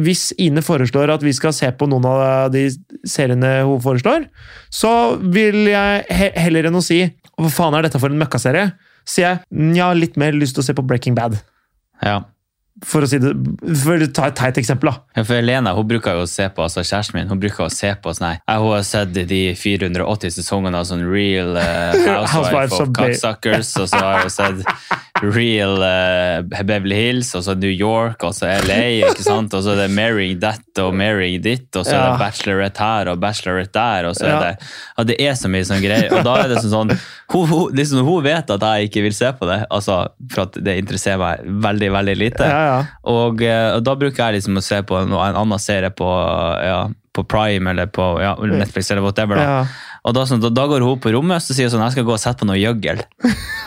Speaker 2: hvis Ine foreslår at vi skal se på noen av de seriene hun foreslår, så vil jeg he- heller enn å si hva faen er dette for en møkkaserie, sier jeg «Mm, jeg har litt mer lyst til å se på Breaking Bad.
Speaker 1: Ja.
Speaker 2: For å, si det, for å ta et teit eksempel, da.
Speaker 1: Ja, For Helena hun bruker jo å se på, altså kjæresten min hun bruker å se på sånn her ja, Hun har sett de 480 sesongene av sånn Real eh,
Speaker 2: Housewives
Speaker 1: Housewives of
Speaker 2: of Bay-
Speaker 1: Cocksuckers, og så har hun sett Real eh, Beverly Hills, og så New York, og så LA, ikke sant? Og så er det Marrying That og Marrying Dit, og så er
Speaker 2: Ja.
Speaker 1: det Bachelorette her og Bachelorette der, og så
Speaker 2: Ja.
Speaker 1: er det Ja, det er så mye sånn greier. Og da er det sånn sånn hun, hun, liksom, hun vet at jeg ikke vil se på det, altså, for at det interesserer meg veldig, veldig lite.
Speaker 2: Ja, ja.
Speaker 1: Og, eh, og da bruker jeg liksom å se på en, en annen serie på, ja, på Prime eller på ja, Netflix eller whatever. Da.
Speaker 2: Ja.
Speaker 1: Og da, sånn, da, da går hun på rommet og sier hun sånn, jeg skal gå og sette på noe gjøggel.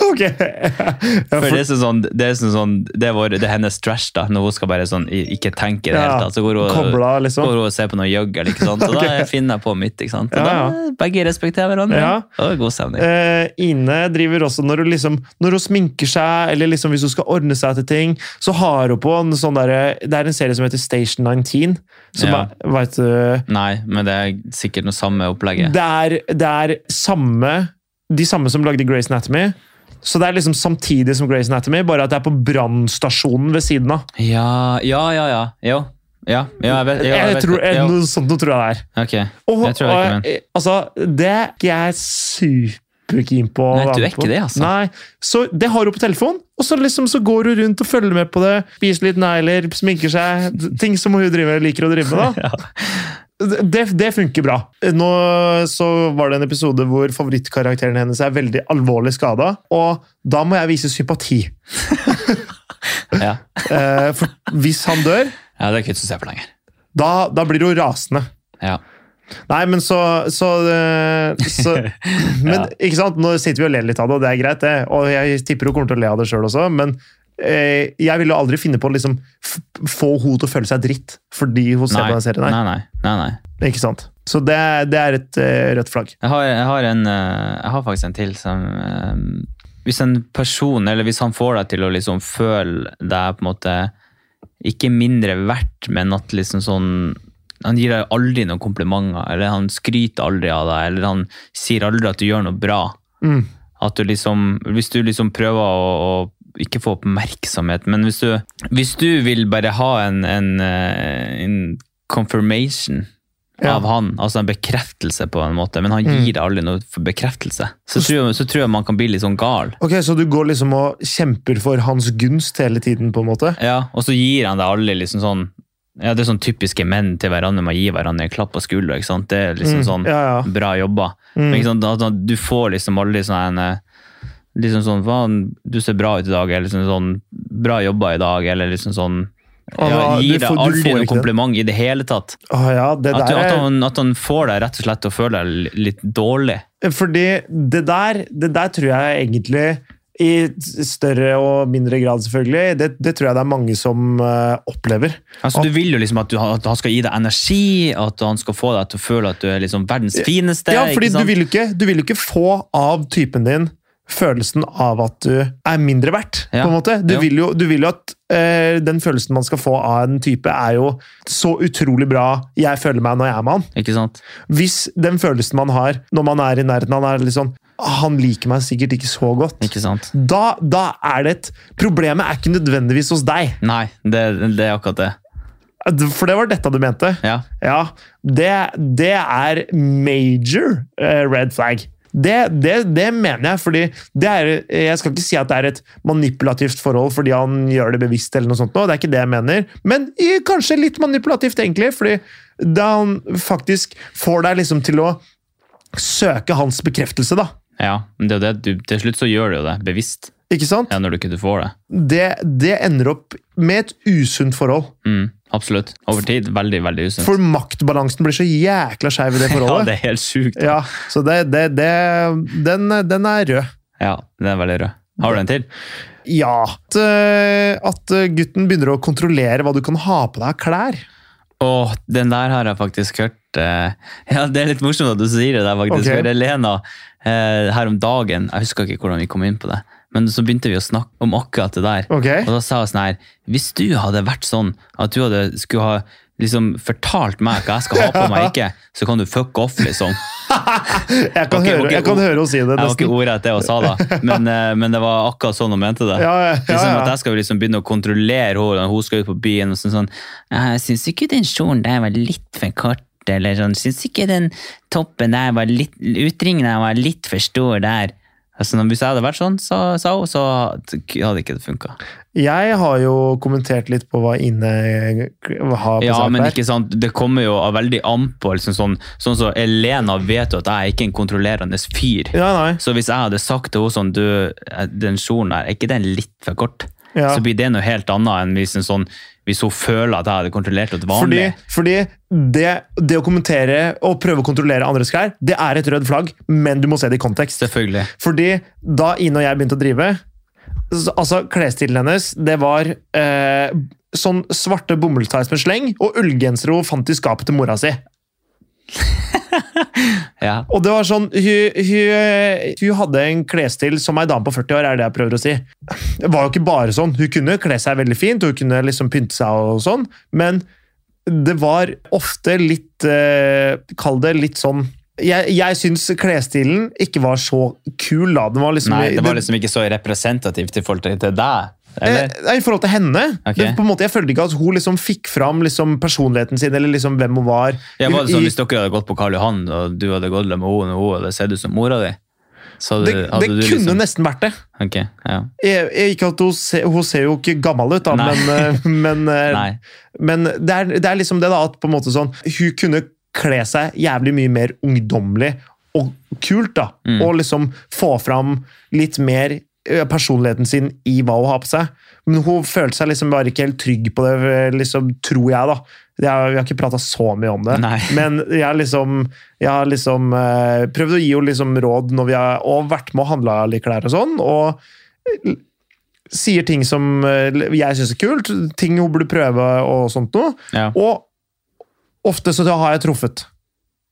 Speaker 2: Ok. Ja,
Speaker 1: For
Speaker 2: for,
Speaker 1: det er, sånn, sånn, det, er sånn, sånn, det, er vår, det er hennes trash da, når hun skal bare sånn, i- ikke tenke i det
Speaker 2: Ja,
Speaker 1: hele tatt. Så går hun,
Speaker 2: koble av, liksom.
Speaker 1: går hun og ser på noe gjøggel, ikke sant? Og
Speaker 2: Ok.
Speaker 1: da finner jeg på mitt, ikke sant? Og
Speaker 2: Ja,
Speaker 1: da begge respekterer hverandre.
Speaker 2: Ja.
Speaker 1: Og det er god stemning.
Speaker 2: Eh, Ine driver også når hun, liksom, når hun sminker seg, eller liksom hvis hun skal ordne seg til ting, så har hun på en sånn derre Det er en serie som heter Station 19. Som
Speaker 1: Ja.
Speaker 2: er, vet du,
Speaker 1: Nei, men det er sikkert noe samme opplegget.
Speaker 2: det, er, det er samme De samme som lagde Grace Anatomy. Så det er liksom samtidig som Grace Anatomy, bare at det er på brannstasjonen ved siden av.
Speaker 1: Ja, ja, ja, ja. Jo. Ja, ja, jeg vet, jo, jeg
Speaker 2: Jeg
Speaker 1: vet
Speaker 2: tror,
Speaker 1: det. Jo.
Speaker 2: noe sånt noe tror jeg det er.
Speaker 1: Ok,
Speaker 2: Og, eh,
Speaker 1: det tror jeg ikke, men...
Speaker 2: og, eh, altså, det er ikke jeg super keen på å
Speaker 1: Nei,
Speaker 2: være
Speaker 1: du er
Speaker 2: med på.
Speaker 1: ikke det, altså.
Speaker 2: Nei, Så det har hun på telefonen, og så liksom så går hun rundt og følger med på det. Spiser litt negler, sminker seg. d- Ting som hun driver, liker å drive med. da. Det, det funker bra. Nå så var det en episode hvor favorittkarakteren hennes er veldig alvorlig skada, og da må jeg vise sympati.
Speaker 1: Ja.
Speaker 2: Eh, for hvis han dør,
Speaker 1: ja, det er ikke vits å se på lenger.
Speaker 2: da, da blir hun rasende.
Speaker 1: Ja.
Speaker 2: Nei, men så, så, øh, så Men ikke sant, nå sitter vi og ler litt av det, og det er greit, det. Og jeg tipper hun kommer til å le av det sjøl også, men eh, jeg ville aldri finne på å liksom, f- få henne til å føle seg dritt fordi hun ser
Speaker 1: Nei.
Speaker 2: på den serien. Nei.
Speaker 1: Nei, nei, nei, nei.
Speaker 2: Ikke sant? Så det, er- det er et eh, rødt flagg.
Speaker 1: Jeg har, jeg, har en, eh, jeg har faktisk en til som eh, Hvis en person, eller hvis han får deg til å liksom føle deg på en måte Ikke mindre verdt, men at liksom sånn Han gir deg aldri noen komplimenter, eller han skryter aldri av deg, eller han sier aldri at du gjør noe bra.
Speaker 2: Mm.
Speaker 1: At du liksom, hvis du liksom prøver å, å ikke få oppmerksomhet, men hvis du, hvis du vil bare ha en, en, eh, en confirmation
Speaker 2: Ja.
Speaker 1: av han, altså en bekreftelse på en måte, men han
Speaker 2: Mm.
Speaker 1: gir deg aldri noe for bekreftelse, så tror, jeg, så tror jeg man kan bli litt sånn gal.
Speaker 2: Ok, Så du går liksom og kjemper for hans gunst hele tiden, på en måte?
Speaker 1: Ja, og så gir han deg aldri liksom sånn, ja, det er sånn typiske menn til hverandre, man gir hverandre en klapp på skuldra, ikke sant? Det er liksom
Speaker 2: Mm,
Speaker 1: sånn,
Speaker 2: ja, ja.
Speaker 1: bra jobba.
Speaker 2: Mm.
Speaker 1: Men Ikke sant? Da- da- Du får liksom aldri sånn en, eh, liksom sånn, faen, du ser bra ut i dag, eller liksom sånn, bra jobba i dag, eller liksom sånn,
Speaker 2: Og
Speaker 1: ja,
Speaker 2: da-
Speaker 1: gir
Speaker 2: Ah, du
Speaker 1: deg
Speaker 2: får- du får
Speaker 1: aldri noen
Speaker 2: ikke den.
Speaker 1: kompliment i det hele tatt.
Speaker 2: Å ja, det
Speaker 1: At, du,
Speaker 2: der
Speaker 1: at,
Speaker 2: er
Speaker 1: han, at han får deg rett og slett til å føle deg li- litt dårlig.
Speaker 2: Fordi det der, det der tror jeg egentlig i større og mindre grad, selvfølgelig. Det, det tror jeg det er mange som eh, opplever.
Speaker 1: Altså, du vil jo liksom at, du, at han skal gi deg energi, at han skal få deg til å føle at du er liksom verdens fineste.
Speaker 2: ja, fordi
Speaker 1: ikke
Speaker 2: du
Speaker 1: sant?
Speaker 2: vil, jo ikke, du vil jo ikke få av typen din følelsen av at du er mindre verdt,
Speaker 1: Ja,
Speaker 2: på en måte. Du
Speaker 1: jo.
Speaker 2: vil jo, du vil jo at eh, den følelsen man skal få av en type, er jo så utrolig bra jeg føler meg når jeg er med han.
Speaker 1: Ikke sant?
Speaker 2: Hvis den følelsen man har når man er i nærheten, han er litt sånn Han liker meg sikkert ikke så godt.
Speaker 1: Ikke sant?
Speaker 2: Da, da er det et Problemet er ikke nødvendigvis hos deg.
Speaker 1: Nei, det, det er akkurat det.
Speaker 2: For det var dette du mente.
Speaker 1: Ja.
Speaker 2: Ja, det, det er major eh, red flag. Det, det, det mener jeg, fordi det er, jeg skal ikke si at det er et manipulativt forhold fordi han gjør det bevisst, eller noe sånt. nå, det er ikke det jeg mener, men i- kanskje litt manipulativt, egentlig. fordi da han faktisk får deg liksom til å søke hans bekreftelse, da.
Speaker 1: ja. Men det er jo det. Du, til slutt så gjør du jo det bevisst,
Speaker 2: Ikke sant?
Speaker 1: ja, når du ikke får det.
Speaker 2: Det, det ender opp med et usunt forhold.
Speaker 1: Mm, absolutt. Over tid. Veldig, veldig usunt.
Speaker 2: For maktbalansen blir så jækla skeiv i det
Speaker 1: Ja,
Speaker 2: forholdet.
Speaker 1: det er helt sjukt. Ja.
Speaker 2: Ja, så det, det, det, den, den er rød.
Speaker 1: den er veldig rød. Har du en til?
Speaker 2: Ja. At, eh, at gutten begynner å kontrollere hva du kan ha på deg av klær.
Speaker 1: Åh, den der har jeg faktisk hørt. eh, Ja, det er litt morsomt at du sier det der, faktisk.
Speaker 2: Ok.
Speaker 1: For Elena, eh, her om dagen, jeg husker ikke hvordan vi kom inn på det, men så begynte vi å snakke om akkurat det der.
Speaker 2: Ok?
Speaker 1: Og da sa jeg sånn her, hvis du hadde vært sånn at du hadde skulle ha liksom fortalt meg hva jeg skal ha på meg, ikke, så kan du fuck off, liksom.
Speaker 2: Jeg kan,
Speaker 1: Ok,
Speaker 2: høre,
Speaker 1: ok,
Speaker 2: jeg kan
Speaker 1: o-
Speaker 2: høre henne si det.
Speaker 1: Jeg var ikke
Speaker 2: nesten.
Speaker 1: ordrett det hun sa da, men, eh, men det var akkurat sånn hun mente det.
Speaker 2: Ja, ja,
Speaker 1: Liksom
Speaker 2: ja,
Speaker 1: at
Speaker 2: ja.
Speaker 1: jeg skal liksom begynne å kontrollere henne når hun skal ut på byen. og sånn sånn, Jeg syns ikke den kjolen der var litt for kort, eller sånn. Syns ikke den toppen der var litt Utringen der var litt for stor der. Altså, når- hvis jeg hadde vært sånn, så, sa hun, så hadde ikke det funka.
Speaker 2: Jeg har jo kommentert litt på hva Ine k- har på
Speaker 1: Ja,
Speaker 2: seg
Speaker 1: men
Speaker 2: klær.
Speaker 1: ikke sant, det kommer jo av veldig an på. Liksom, sånn sånn som Elena vet jo at jeg er ikke en kontrollerende fyr.
Speaker 2: Ja, nei.
Speaker 1: Så hvis jeg hadde sagt til henne sånn, du, den kjolen der, er ikke den litt for kort?
Speaker 2: Ja.
Speaker 1: Så blir det noe helt annet enn hvis, en sånn, hvis hun føler at jeg hadde kontrollert et
Speaker 2: Fordi,
Speaker 1: vanlig.
Speaker 2: fordi det, det å kommentere og prøve å kontrollere andres klær, det er et rødt flagg, men du må se det i kontekst.
Speaker 1: Selvfølgelig.
Speaker 2: Fordi da Ine og jeg begynte å drive s- Altså, klesstilen hennes, det var eh, sånn svarte bomullstights med sleng og ullgensere hun fant i skapet til mora si.
Speaker 1: Ja.
Speaker 2: Og det var sånn Hun, hun, hun hadde en klesstil som ei dame på 40 år, er det jeg prøver å si. Det var jo ikke bare sånn. Hun kunne kle seg veldig fint, og hun kunne liksom pynte seg og sånn, men det var ofte litt eh, Kall det litt sånn jeg, jeg syns klesstilen ikke var så kul, da. Den var liksom,
Speaker 1: Nei, det var
Speaker 2: det-
Speaker 1: liksom ikke så representativt i forhold til til deg. Eller?
Speaker 2: Eh, nei, I forhold til henne.
Speaker 1: Ok.
Speaker 2: Det, på en måte, jeg følte ikke at hun liksom fikk fram liksom personligheten sin, eller liksom hvem hun var.
Speaker 1: Ja, var det sånn
Speaker 2: I-
Speaker 1: Hvis dere hadde gått på Karl Johan, og du hadde gått med henne og hun hadde sett ut som mora di Så hadde,
Speaker 2: Det, det
Speaker 1: hadde du
Speaker 2: kunne
Speaker 1: liksom
Speaker 2: nesten vært det.
Speaker 1: Ok, ja.
Speaker 2: Jeg, jeg, ikke at hun, ser- hun ser jo ikke gammel ut, da,
Speaker 1: Nei.
Speaker 2: men, eh, men, eh,
Speaker 1: Nei.
Speaker 2: men det, er, det er liksom det da, at på en måte sånn, hun kunne kle seg jævlig mye mer ungdommelig og kult, da.
Speaker 1: Mm.
Speaker 2: Og liksom få fram litt mer eh, personligheten sin i hva hun har på seg. Men hun følte seg liksom bare ikke helt trygg på det, eh, liksom, tror jeg, da. Jeg, har- vi har ikke prata så mye om det.
Speaker 1: Nei.
Speaker 2: Men jeg har liksom, jeg har liksom eh, prøvd å gi henne liksom råd når vi har og vært med og handla litt klær og sånn. Og l- sier ting som eh, jeg syns er kult, ting hun burde prøve og sånt noe.
Speaker 1: Ja.
Speaker 2: Og ofte så har jeg truffet.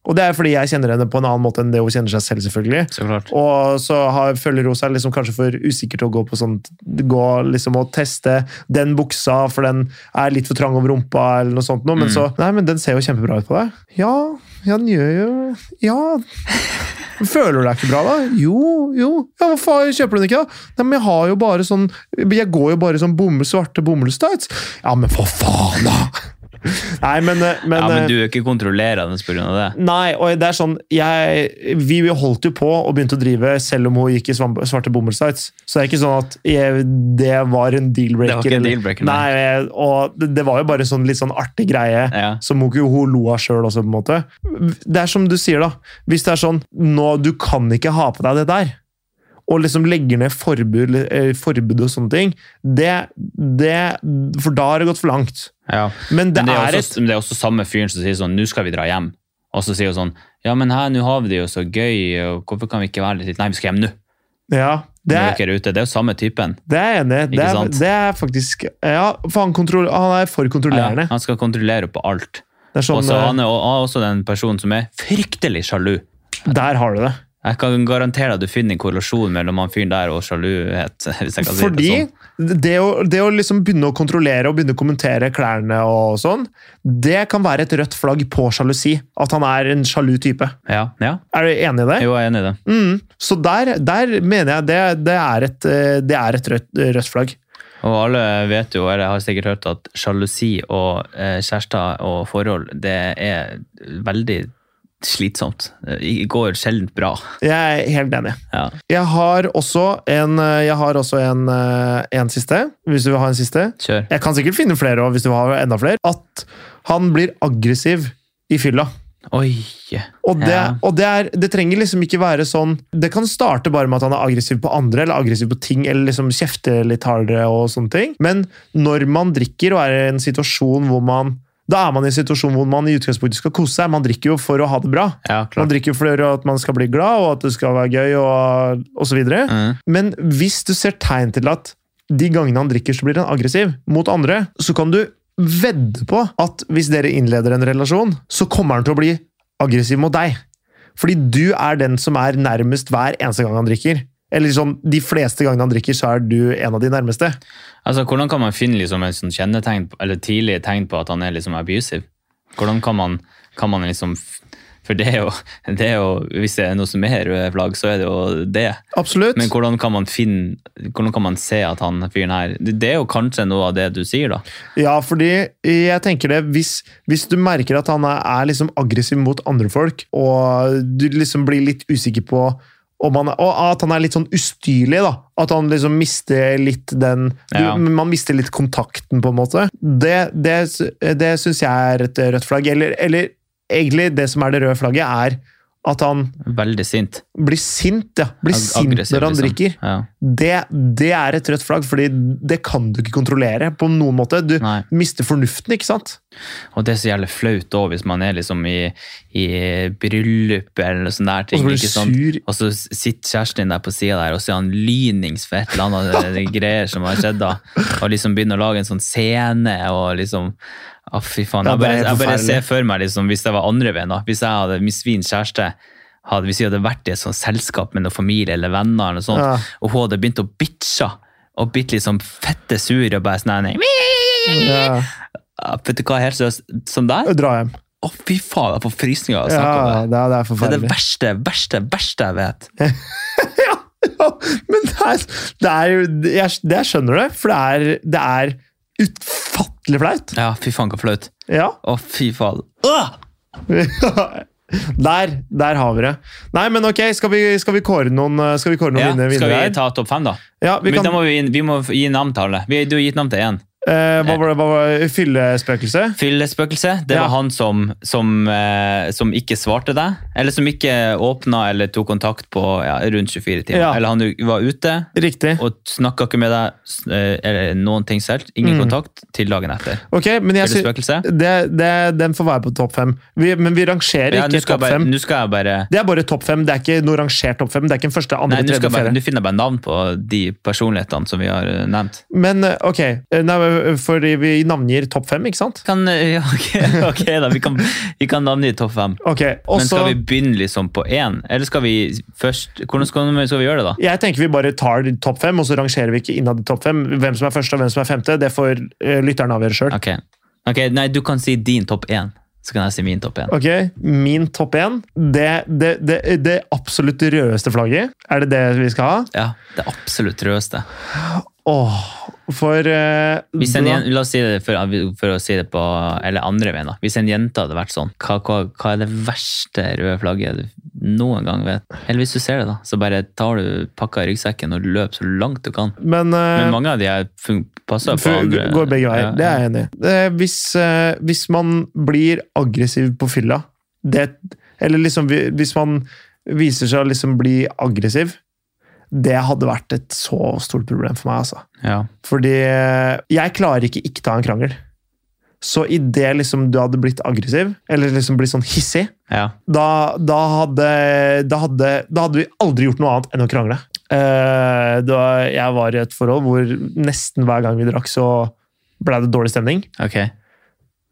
Speaker 2: Og det er fordi jeg kjenner henne på en annen måte enn det hun kjenner seg selv, selvfølgelig.
Speaker 1: Så klart.
Speaker 2: Og så har, føler hun seg liksom kanskje for usikker til å gå på sånt, gå liksom og teste den buksa, for den er litt for trang over rumpa, eller noe sånt. Noe. Men
Speaker 1: Mm.
Speaker 2: så Nei, men den ser jo kjempebra ut på deg. Ja, ja, den gjør jo Ja. Føler du deg ikke bra, da? Jo, jo. Ja, Hva faen, kjøper du den ikke, da? Nei, men jeg har jo bare sånn Jeg går jo bare i sånn bomull, svarte bomullstights. Ja, men for faen, da! Nei, men, eh, men,
Speaker 1: ja,
Speaker 2: eh,
Speaker 1: men du er ikke kontrollerende pga. det.
Speaker 2: Nei, og det er sånn jeg, Vi holdt jo på og begynte å drive selv om hun gikk i svamp- svarte bomullstights. Så det er ikke sånn at jeg, det var en
Speaker 1: Det var ikke
Speaker 2: deal-breaker.
Speaker 1: en
Speaker 2: eller-
Speaker 1: deal-breaker, nei.
Speaker 2: Nei, jeg- og det, det var jo bare sånn litt sånn artig greie.
Speaker 1: Ja.
Speaker 2: Som hun, ikke- hun lo av sjøl også, på en måte. Det er som du sier, da. Hvis det er sånn nå, Du kan ikke ha på deg det der. Og liksom legger ned forbud, eh, forbud og sånne ting. Det, det, for da har det gått for langt.
Speaker 1: Ja.
Speaker 2: Men det,
Speaker 1: Men det
Speaker 2: er,
Speaker 1: er,
Speaker 2: et
Speaker 1: også, men det er også samme fyren som sier sånn, nå skal vi dra hjem. Og så sier hun sånn, ja, men her, nå har vi det jo så gøy, og hvorfor kan vi ikke være litt Nei, vi skal hjem nå.
Speaker 2: Ja, det
Speaker 1: Det
Speaker 2: er,
Speaker 1: er, dere er ute. det er jo samme typen.
Speaker 2: Det er jeg enig i. Det,
Speaker 1: Ikke
Speaker 2: er-
Speaker 1: sant?
Speaker 2: det er faktisk Ja, for han, kontroll, han er for kontrollerende.
Speaker 1: Ja, han skal kontrollere på alt.
Speaker 2: Det er
Speaker 1: Og
Speaker 2: sånn,
Speaker 1: så han er og- og også den personen som er fryktelig sjalu.
Speaker 2: eh, Der har du det.
Speaker 1: Jeg kan garantere at du finner en korrelasjon mellom han fyren der og sjaluhet. hvis jeg kan si det
Speaker 2: Fordi
Speaker 1: sånn.
Speaker 2: det å, det å liksom begynne å kontrollere og begynne å kommentere klærne og sånn, det kan være et rødt flagg på sjalusi. At han er en sjalu type.
Speaker 1: Ja, ja.
Speaker 2: Er du enig i det?
Speaker 1: Jo, jeg er enig i det.
Speaker 2: Mm. Så der, der mener jeg det, det er et, eh, det er et rødt, rødt flagg.
Speaker 1: Og alle vet jo, eller har sikkert hørt, at sjalusi og eh, kjærester og forhold, det er veldig slitsomt. Det går sjelden bra.
Speaker 2: Jeg er helt enig.
Speaker 1: Ja.
Speaker 2: Jeg har også en, eh, jeg har også en, eh, en siste, hvis du vil ha en siste.
Speaker 1: Kjør.
Speaker 2: jeg kan sikkert finne flere også, hvis du har enda flere, at han blir aggressiv i fylla.
Speaker 1: Oi.
Speaker 2: Og, det,
Speaker 1: Ja.
Speaker 2: og det, er, det trenger liksom ikke være sånn Det kan starte bare med at han er aggressiv på andre, eller aggressiv på ting, eller liksom kjefter litt hardere og sånne ting. Men når man drikker og er i en situasjon hvor man Da er man i en situasjon hvor man i utgangspunktet skal kose seg. Man drikker jo for å ha det bra.
Speaker 1: Ja,
Speaker 2: Man
Speaker 1: klart.
Speaker 2: drikker for at man skal bli glad, og at det skal være gøy, og, og så videre.
Speaker 1: Mm.
Speaker 2: Men hvis du ser tegn til at de gangene han drikker, så blir han aggressiv mot andre, så kan du vedde på at hvis dere innleder en relasjon, så kommer han til å bli aggressiv mot deg. Fordi du er den som er nærmest hver eneste gang han drikker. Eller sånn, De fleste gangene han drikker, så er du en av de nærmeste.
Speaker 1: Altså, hvordan kan man finne liksom en sånn kjennetegn, på- eller tidlige tegn på at han er liksom abusive? Hvordan kan man, kan man liksom f- For det er, jo, det er jo Hvis det er noe som er røde flagg, så er det jo det.
Speaker 2: Absolutt.
Speaker 1: Men hvordan kan man finne Hvordan kan man se at han fyren her Det det er jo kanskje noe av det du sier, da.
Speaker 2: Ja, fordi jeg tenker det Hvis, hvis du merker at han er, er liksom aggressiv mot andre folk, og du liksom blir litt usikker på om han, Og at han er litt sånn ustyrlig, da. At han liksom mister litt den du,
Speaker 1: Ja.
Speaker 2: Man mister litt kontakten, på en måte. Det, det, det syns jeg er et rødt flagg. Eller, eller egentlig, det som er det røde flagget, er at han
Speaker 1: Veldig sint.
Speaker 2: blir sint, ja. Blir
Speaker 1: Ag-
Speaker 2: sint
Speaker 1: aggressiv,
Speaker 2: når han
Speaker 1: liksom.
Speaker 2: drikker
Speaker 1: Ja.
Speaker 2: det, det er et rødt flagg, fordi det kan du ikke kontrollere på noen måte. Du
Speaker 1: Nei.
Speaker 2: mister fornuften, ikke sant?
Speaker 1: Og det er så jævlig flaut òg, hvis man er liksom i, i bryllup eller noe sånt der
Speaker 2: Og
Speaker 1: ting.
Speaker 2: så blir du
Speaker 1: ikke sant?
Speaker 2: sur.
Speaker 1: Og så sitter kjæresten din der på sida der, og så er han lynings for et eller annet eh, greier som har skjedd. da. Og liksom begynner å lage en sånn scene og liksom Å, fy faen.
Speaker 2: Ja,
Speaker 1: Jeg
Speaker 2: det er
Speaker 1: bare, jeg bare
Speaker 2: forferdelig.
Speaker 1: ser for meg, liksom, hvis det var andre veien, da. Hvis jeg hadde hvis min kjæreste hadde, hvis jeg hadde vært i et sånt selskap med noen familie eller venner, eller noe sånt,
Speaker 2: Ja.
Speaker 1: og hun hadde begynt å bitche og blitt liksom fette sur og bare sånn nei,
Speaker 2: Ja.
Speaker 1: ja, Vet du hva, helt seriøst, sånn der?
Speaker 2: Dra hjem.
Speaker 1: Å, fy faen, jeg får frysninger av å snakke
Speaker 2: Ja,
Speaker 1: om det.
Speaker 2: det, er- det er
Speaker 1: Det er det
Speaker 2: forferdelig.
Speaker 1: verste, verste, verste jeg vet.
Speaker 2: Ja, men det er, det er jo jeg, det, jeg skjønner det, for det er, det er utfattelig flaut.
Speaker 1: Ja, fy faen, så flaut.
Speaker 2: Ja.
Speaker 1: Å, fy faen. Åh!
Speaker 2: ja, Der, der har vi det. Nei, men ok, skal vi, skal vi kåre noen, skal vi kåre noen
Speaker 1: Ja,
Speaker 2: vinner-
Speaker 1: skal vi
Speaker 2: vinnere? her?
Speaker 1: ta topp fem, da?
Speaker 2: Ja, vi
Speaker 1: Men
Speaker 2: kan,
Speaker 1: da må vi, gi- vi må gi navn til alle. Vi, du har gitt navn til én.
Speaker 2: eh, hva var det, hva var det? Fyllespøkelse?
Speaker 1: Fyllespøkelse. Det
Speaker 2: Ja.
Speaker 1: var han som, som, eh, som ikke svarte deg. Eller som ikke åpna eller tok kontakt på ja, rundt 24 timer.
Speaker 2: Ja.
Speaker 1: Eller han u- var ute
Speaker 2: Riktig.
Speaker 1: og snakka ikke med deg s- eh, eller noen ting selv. Ingen
Speaker 2: Mm.
Speaker 1: kontakt til dagen etter.
Speaker 2: Ok, men jeg sy-
Speaker 1: Fyllespøkelse.
Speaker 2: det, det, Den får være på topp fem. Vi, men vi rangerer
Speaker 1: Ja, nå skal, jeg
Speaker 2: ikke topp
Speaker 1: bare,
Speaker 2: fem.
Speaker 1: nå skal jeg bare
Speaker 2: Det er bare topp fem. Det er ikke noe rangert topp fem. Det er ikke en første,
Speaker 1: Nei,
Speaker 2: andre,
Speaker 1: nå skal
Speaker 2: tredje,
Speaker 1: jeg bare,
Speaker 2: fjerde.
Speaker 1: nå finner jeg bare navn på de personlighetene som vi har eh, nevnt.
Speaker 2: Men eh, ok, eh, nei, fordi vi navngir topp fem, ikke sant?
Speaker 1: Kan, eh, ja, ok, ok, da. Vi kan, vi kan navngi topp fem.
Speaker 2: Ok, og
Speaker 1: Men
Speaker 2: så
Speaker 1: skal vi begynne liksom på én, eller skal vi først Hvordan skal vi, skal vi gjøre det, da?
Speaker 2: Jeg tenker vi bare tar de topp fem, og så rangerer vi ikke innad i topp fem. Hvem som er første og hvem som er femte, det får eh, lytteren avgjøre sjøl.
Speaker 1: Ok, Ok, nei, du kan si din topp én, så kan jeg si min topp én.
Speaker 2: Ok, Min topp én, det, det, det, det absolutt rødeste flagget. Er det det vi skal ha?
Speaker 1: Ja, det absolutt rødeste.
Speaker 2: Åh, for eh,
Speaker 1: Hvis en,
Speaker 2: da-
Speaker 1: jen- la oss si det for, for å si det på Eller andre veien, da. Hvis en jente hadde vært sånn, hva, hva, hva er det verste røde flagget du noen gang vet? Eller hvis du ser det, da, så bare tar du pakka i ryggsekken og løper så langt du kan.
Speaker 2: Men, eh,
Speaker 1: Men mange av de her fun- passer på
Speaker 2: For-
Speaker 1: andre.
Speaker 2: Går begge veier.
Speaker 1: Ja,
Speaker 2: Det er jeg enig i. Eh, Hvis, eh, hvis man blir aggressiv på fylla, det, eller liksom vi- hvis man viser seg å liksom bli aggressiv, det hadde vært et så stort problem for meg, altså.
Speaker 1: Ja.
Speaker 2: Fordi eh, jeg klarer ikke ikke ta en krangel. Så idet liksom du hadde blitt aggressiv, eller liksom blitt sånn hissig,
Speaker 1: ja.
Speaker 2: da, da, hadde, da, hadde, da hadde vi aldri gjort noe annet enn å krangle. Eh, da jeg var i et forhold hvor nesten hver gang vi drakk, så ble det dårlig stemning.
Speaker 1: Ok.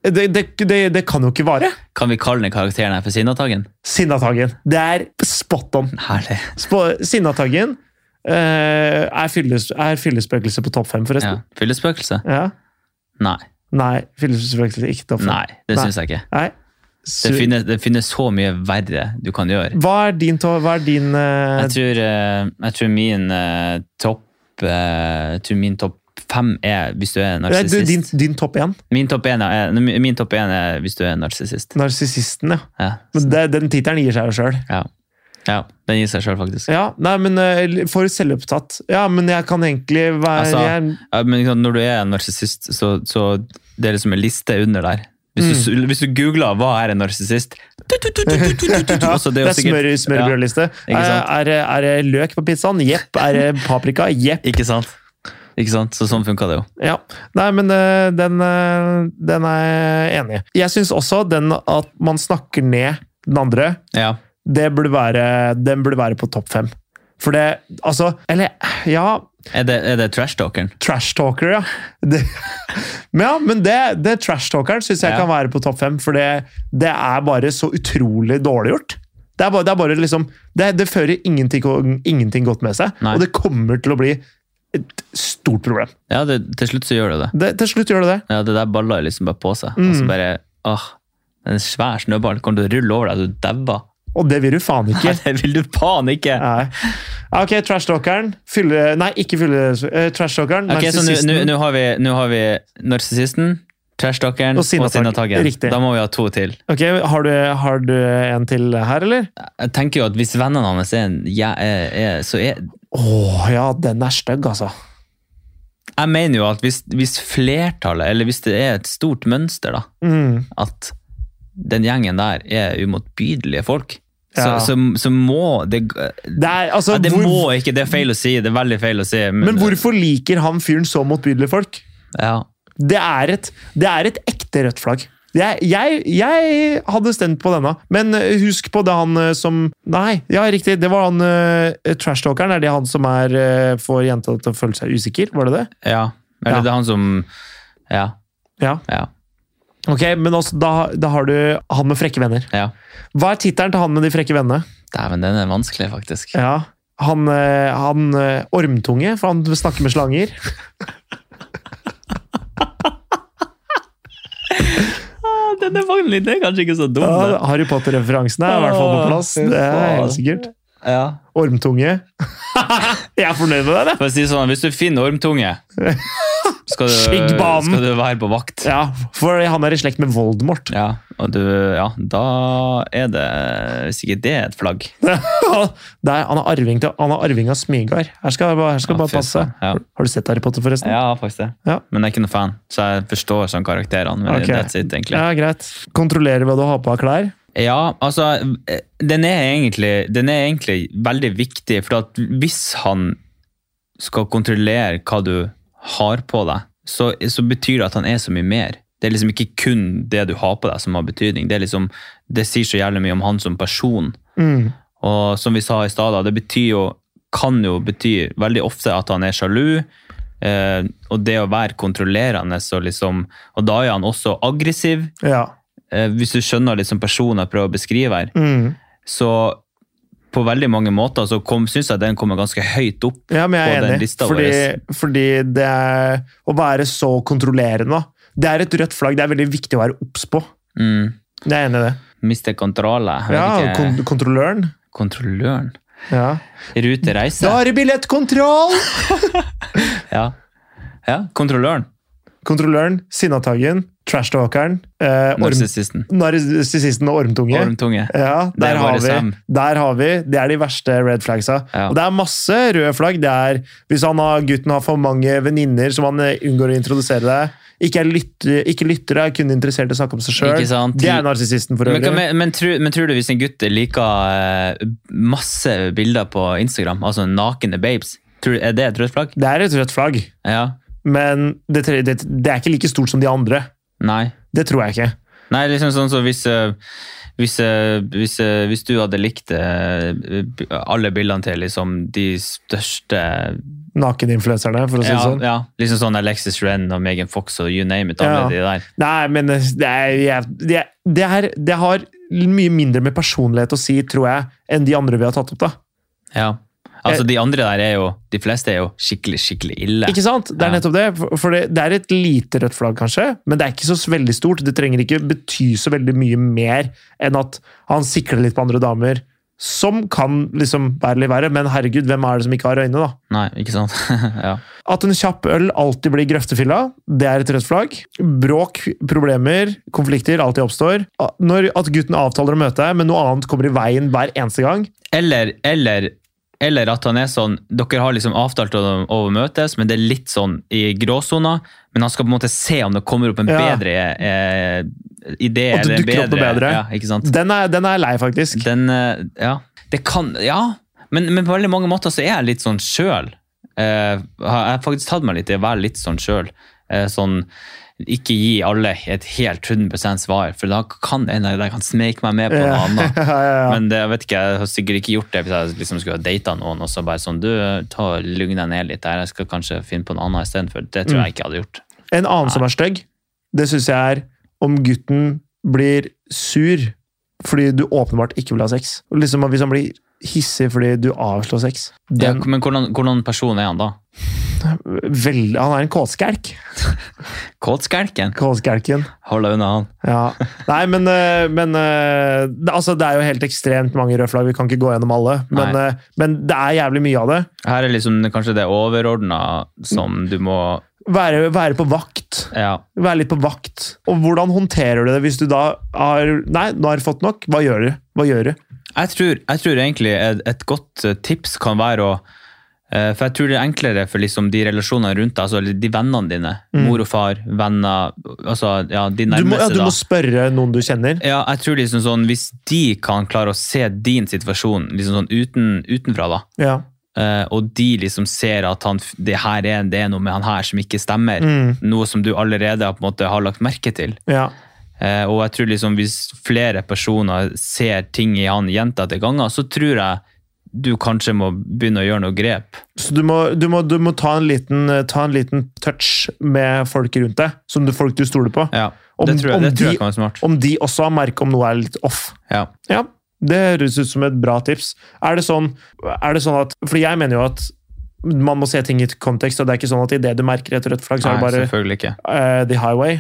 Speaker 2: Det, det, det, det kan jo ikke vare.
Speaker 1: Kan vi kalle den karakteren her for Sinnataggen?
Speaker 2: Sinnataggen. Det er spot on.
Speaker 1: Herlig.
Speaker 2: Sp- Sinnataggen eh, er, fylles, er fyllespøkelse på topp fem,
Speaker 1: Ja.
Speaker 2: forresten.
Speaker 1: Fyllespøkelse?
Speaker 2: Ja.
Speaker 1: Nei.
Speaker 2: Nei, fyllespøkelse ikke topp fem.
Speaker 1: Nei, det
Speaker 2: Nei.
Speaker 1: syns jeg ikke.
Speaker 2: Nei.
Speaker 1: Det
Speaker 2: Su-
Speaker 1: finnes, det finnes så mye verre du kan gjøre.
Speaker 2: Hva er din, to- hva er din eh,
Speaker 1: Jeg tror, eh, jeg tror min eh, topp eh, Jeg tror min topp fem er hvis du er
Speaker 2: nei, du, din,
Speaker 1: narsissist.
Speaker 2: din topp én?
Speaker 1: Min topp én er, eh, nei, min topp én er hvis du er narsissist.
Speaker 2: Narsissisten, ja.
Speaker 1: Ja.
Speaker 2: Men det, den tittelen gir seg jo sjøl.
Speaker 1: Ja. ja. Den gir seg sjøl, faktisk.
Speaker 2: Ja, nei, men eh, for selvopptatt. Ja, men jeg kan egentlig være
Speaker 1: Altså,
Speaker 2: jeg,
Speaker 1: Ja, men ikke sant, når du er narsissist, så, så det er liksom en liste under der.
Speaker 2: Mm.
Speaker 1: Hvis du, hvis du googler 'hva er en narsissist' tu, tu, tu, tu, tu, tu, tu, tu,
Speaker 2: ja,
Speaker 1: også
Speaker 2: Det
Speaker 1: jo
Speaker 2: er smør i
Speaker 1: ja,
Speaker 2: smørbrødliste. Eh,
Speaker 1: ikke sant?
Speaker 2: Er, det- er det løk på pizzaen? Jepp. Er det paprika? Jepp.
Speaker 1: Ikke sant? Ikke sant? Så sånn funka det jo.
Speaker 2: Ja. Nei, men eh, den, eh, den er jeg enig i. Jeg syns også den at man snakker ned den andre,
Speaker 1: Ja.
Speaker 2: det burde være, den burde være på topp fem. For det Altså, eller Ja,
Speaker 1: Er det, er det trash-talkeren?
Speaker 2: trash talker, ja. Det, men ja, men det, det trash talkeren syns jeg
Speaker 1: Ja.
Speaker 2: kan være på topp fem, for det, det er bare så utrolig dårlig gjort. Det, er bare, det, er bare liksom, det, det fører ingenting, ingenting godt med seg,
Speaker 1: Nei.
Speaker 2: og det kommer til å bli et stort problem.
Speaker 1: Ja, det, til slutt så gjør det det.
Speaker 2: Det, til slutt gjør det det.
Speaker 1: Ja, det der baller liksom bare på seg.
Speaker 2: Mm.
Speaker 1: Og så bare, åh, en svær snøball kommer til å rulle over deg, du dauer.
Speaker 2: Og det vil du faen
Speaker 1: Nei,
Speaker 2: ikke.
Speaker 1: det vil du faen ikke!
Speaker 2: Nei. Ja, Ok, trash talkeren. Fylle Nei, ikke fylle eh, Trash talkeren.
Speaker 1: Ok, så nå- nå
Speaker 2: Narsissisten.
Speaker 1: nå har vi, nå har vi narsissisten, trashdokkeren
Speaker 2: Og
Speaker 1: og
Speaker 2: Sinnataggen.
Speaker 1: sinnataggen.
Speaker 2: Riktig.
Speaker 1: Da må vi ha to til.
Speaker 2: Ok, har du, har du en til her, eller?
Speaker 1: Jeg tenker jo at hvis vennene hans er, en, ja, er, er så er
Speaker 2: Å ja, den er stygg, altså.
Speaker 1: Jeg mener jo at hvis, hvis flertallet, eller hvis det er et stort mønster, da,
Speaker 2: Mm.
Speaker 1: at den gjengen der er umotbydelige folk,
Speaker 2: Ja.
Speaker 1: så, så, så må det
Speaker 2: Det er, altså,
Speaker 1: ja, Det
Speaker 2: hvor-
Speaker 1: må ikke, det er feil å si. Det er veldig feil å si.
Speaker 2: Men hvorfor liker han fyren så motbydelige folk?
Speaker 1: Ja.
Speaker 2: Det er et, det er et ekte rødt flagg. Jeg, jeg, jeg hadde stemt på denne, men eh, husk på det han eh, som Nei, ja, riktig, det var han eh, trashtalkeren. Er det han som er, eh, får jenta til å føle seg usikker? Var det det?
Speaker 1: Ja. Eller
Speaker 2: Ja.
Speaker 1: det er han som Ja.
Speaker 2: Ja.
Speaker 1: Ja.
Speaker 2: Ok, men også, da, da har du han med frekke venner.
Speaker 1: ja.
Speaker 2: Hva er tittelen til han med de frekke vennene?
Speaker 1: Dæven, den er vanskelig, faktisk.
Speaker 2: Ja, Han, eh, han eh, ormtunge, for han snakker med slanger.
Speaker 1: Den er vanlig, det er kanskje ikke så dum.
Speaker 2: Ja, Harry Potter-referansene er i hvert fall på plass.
Speaker 1: Åh, fy
Speaker 2: Det er
Speaker 1: faen.
Speaker 2: helt sikkert.
Speaker 1: Ja.
Speaker 2: Ormtunge. jeg er fornøyd med deg, det.
Speaker 1: For å si det sånn, Hvis du finner ormtunge, skal du,
Speaker 2: Skiggbanen!
Speaker 1: skal du være på vakt.
Speaker 2: Ja, for han er i slekt med Voldemort.
Speaker 1: Ja, og du, ja, da er det sikkert det er et flagg.
Speaker 2: Det er, han, er arving til, han er arving av Smygard. Her skal jeg bare, her skal jeg
Speaker 1: Ja,
Speaker 2: bare
Speaker 1: fy
Speaker 2: passe.
Speaker 1: faen, ja.
Speaker 2: Har du sett Harry Potter, forresten?
Speaker 1: Ja, faktisk det.
Speaker 2: Ja.
Speaker 1: Men jeg er ikke noen fan, så jeg forstår sånn karakterene. Men
Speaker 2: Ok.
Speaker 1: that's it, egentlig. Ja.
Speaker 2: Ja, greit. Kontrollerer hva du har på av klær.
Speaker 1: altså, eh, den er egentlig, den er egentlig veldig viktig, for at hvis han skal kontrollere hva du har på deg, så, så betyr det at han er så mye mer. Det er liksom ikke kun det du har på deg som har betydning. Det, er liksom, det sier så jævlig mye om han som person.
Speaker 2: Mm.
Speaker 1: Og som vi sa i stad, da, det betyr jo, kan jo bety veldig ofte at han er sjalu. Eh, og det å være kontrollerende og liksom Og da er han også aggressiv.
Speaker 2: Ja.
Speaker 1: Eh, hvis du skjønner liksom personen jeg prøver å beskrive her,
Speaker 2: Mm.
Speaker 1: så på veldig mange måter så kom, syns jeg den kommer ganske høyt opp.
Speaker 2: Ja, men jeg
Speaker 1: på den
Speaker 2: er enig.
Speaker 1: lista
Speaker 2: Fordi, fordi det er Å være så kontrollerende, det er et rødt flagg. Det er veldig viktig å være obs på.
Speaker 1: Mm.
Speaker 2: Jeg er enig i det.
Speaker 1: Mister kontrollen.
Speaker 2: Ja,
Speaker 1: Ja,
Speaker 2: kon kontrolløren.
Speaker 1: kontrolløren.
Speaker 2: Ja.
Speaker 1: Rute
Speaker 2: Da
Speaker 1: reise.
Speaker 2: er det billettkontroll!
Speaker 1: Ja. ja, kontrolløren.
Speaker 2: Kontrolløren, sinnataggen, trashtalkeren, eh, orm-
Speaker 1: Narsissisten.
Speaker 2: narsissisten og ormtunge.
Speaker 1: Ormtunge.
Speaker 2: Ja,
Speaker 1: Det
Speaker 2: der
Speaker 1: er
Speaker 2: har,
Speaker 1: bare
Speaker 2: vi,
Speaker 1: Sam.
Speaker 2: der har vi. Det er de verste red flagsa.
Speaker 1: Ja.
Speaker 2: Og det er masse røde flagg. Det er hvis han har, gutten har for mange venninner som han eh, unngår å introdusere deg. Ikke, er lytter, ikke lyttere, er kun interessert i å snakke om seg
Speaker 1: Ikke
Speaker 2: sjøl.
Speaker 1: sant?
Speaker 2: Det er narsissisten for
Speaker 1: Men,
Speaker 2: øvrig.
Speaker 1: kan- men, men, tror, men tror du hvis en gutt liker eh, masse bilder på Instagram, altså nakne babes, tror, du- er det et rødt flagg?
Speaker 2: det er et rødt flagg,
Speaker 1: Ja.
Speaker 2: men det, tre- det, det er ikke like stort som de andre.
Speaker 1: Nei.
Speaker 2: Det tror jeg ikke.
Speaker 1: Nei, liksom sånn så hvis, eh, hvis, eh, hvis, eh, hvis du hadde likt eh, b- alle bildene til liksom de største
Speaker 2: Nakeninfluenserne, for å si det
Speaker 1: ja,
Speaker 2: sånn.
Speaker 1: ja, liksom sånn Alexis Renn og Megan Fox og you name it, alle
Speaker 2: Ja.
Speaker 1: de der.
Speaker 2: Nei, men eh, det, er, jeg- det, det, er, det har mye mindre med personlighet å si, tror jeg, enn de andre vi har tatt opp. da.
Speaker 1: Ja. Altså,
Speaker 2: Jeg-
Speaker 1: de andre der er jo De fleste er jo skikkelig, skikkelig ille.
Speaker 2: Ikke sant? Det er
Speaker 1: Ja.
Speaker 2: nettopp det. For- For det, det er et lite rødt flagg, kanskje, men det er ikke så s- veldig stort. Det trenger ikke bety så veldig mye mer enn at han sikler litt på andre damer. Som kan liksom være litt verre, men herregud, hvem er det som ikke har øyne, da?
Speaker 1: Nei, ikke sant? ja.
Speaker 2: At en kjapp øl alltid blir grøftefylla, det er et rødt flagg. Bråk, problemer, konflikter alltid oppstår. A- Når At gutten avtaler å møte deg, men noe annet kommer i veien hver eneste gang.
Speaker 1: Eller, eller, eller at han er sånn Dere har liksom avtalt å, å møtes, men det er litt sånn i gråsona. Men han skal på en måte se om det kommer opp en
Speaker 2: Ja.
Speaker 1: bedre eh, idé.
Speaker 2: At det
Speaker 1: eller en
Speaker 2: dukker opp noe bedre.
Speaker 1: Ja, ikke sant?
Speaker 2: Den er, den er jeg lei, faktisk.
Speaker 1: Den, eh, ja. Det kan Ja. Men, men på veldig mange måter så er jeg litt sånn sjøl. Eh, har jeg har faktisk tatt meg litt i å være litt sånn sjøl. Eh, sånn ikke gi alle et helt 100 svar, for da kan en av dem smeike meg med på noe annet.
Speaker 2: Ja, ja, ja.
Speaker 1: Men det, jeg vet ikke, jeg har sikkert ikke gjort det hvis jeg liksom skulle ha data noen og så bare sånn, du, ta og lugn deg ned litt der, jeg skal kanskje finne på en annen i stedet for. Det
Speaker 2: Mm.
Speaker 1: tror jeg ikke jeg hadde gjort.
Speaker 2: En annen som er stygg, det syns jeg er om gutten blir sur fordi du åpenbart ikke vil ha sex. Og Liksom at Hvis han blir hissig fordi du avslår sex.
Speaker 1: Ja,
Speaker 2: Den,
Speaker 1: men hvordan, hvordan person er han da?
Speaker 2: vel, han er en kåtskelk.
Speaker 1: Kåtskelken?
Speaker 2: Kåtskelken.
Speaker 1: Hold deg unna han.
Speaker 2: Ja. Nei, men, eh, men eh, det- altså, Det er jo helt ekstremt mange røde flagg, vi kan ikke gå gjennom alle. Men, eh, men det er jævlig mye av det.
Speaker 1: Her er liksom kanskje det overordnet som du må,
Speaker 2: Være, være på vakt.
Speaker 1: ja,
Speaker 2: Være litt på vakt. Og hvordan håndterer du det hvis du da har Nei, nå har du fått nok. Hva gjør du? Hva gjør du?
Speaker 1: Jeg tror, jeg tror egentlig et, et godt eh, tips kan være å eh, For jeg tror det er enklere for liksom de relasjonene rundt deg, altså de vennene dine. Mor og far, venner, altså ja, de
Speaker 2: Mm. Du
Speaker 1: nærmeste.
Speaker 2: må, ja, du
Speaker 1: da.
Speaker 2: må spørre noen du kjenner.
Speaker 1: Ja, jeg tror liksom sånn, Hvis de kan klare å se din situasjon liksom sånn uten, utenfra, da,
Speaker 2: Ja.
Speaker 1: eh, og de liksom ser at han, f- det, her er, det er noe med han her som ikke stemmer,
Speaker 2: Mm.
Speaker 1: noe som du allerede har, på en måte, har lagt merke til
Speaker 2: Ja.
Speaker 1: Eh, og jeg tror liksom Hvis flere personer ser ting i han gjentatte ganger, så tror jeg du kanskje må begynne å gjøre noe grep.
Speaker 2: Så du må, du må, du må ta, en liten, ta en liten touch med folk rundt deg, som du, folk du stoler på.
Speaker 1: Ja,
Speaker 2: Om-
Speaker 1: Det tror jeg,
Speaker 2: om
Speaker 1: det tror
Speaker 2: de-
Speaker 1: jeg kan være smart.
Speaker 2: Om de også har merket om noe er litt off.
Speaker 1: Ja.
Speaker 2: Ja, det høres ut som et bra tips. Er det sånn, er det sånn at Fordi jeg mener jo at man må se ting i et kontekst, og det er ikke sånn at idet du merker et rødt flagg,
Speaker 1: Nei,
Speaker 2: så er det bare
Speaker 1: selvfølgelig ikke.
Speaker 2: eh, the highway.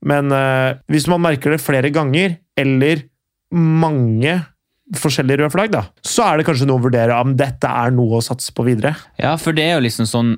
Speaker 2: Men eh, hvis man merker det flere ganger, eller mange forskjellige røde flagg, da, så er det kanskje noe å vurdere om dette er noe å satse på videre.
Speaker 1: Ja, for det er jo liksom sånn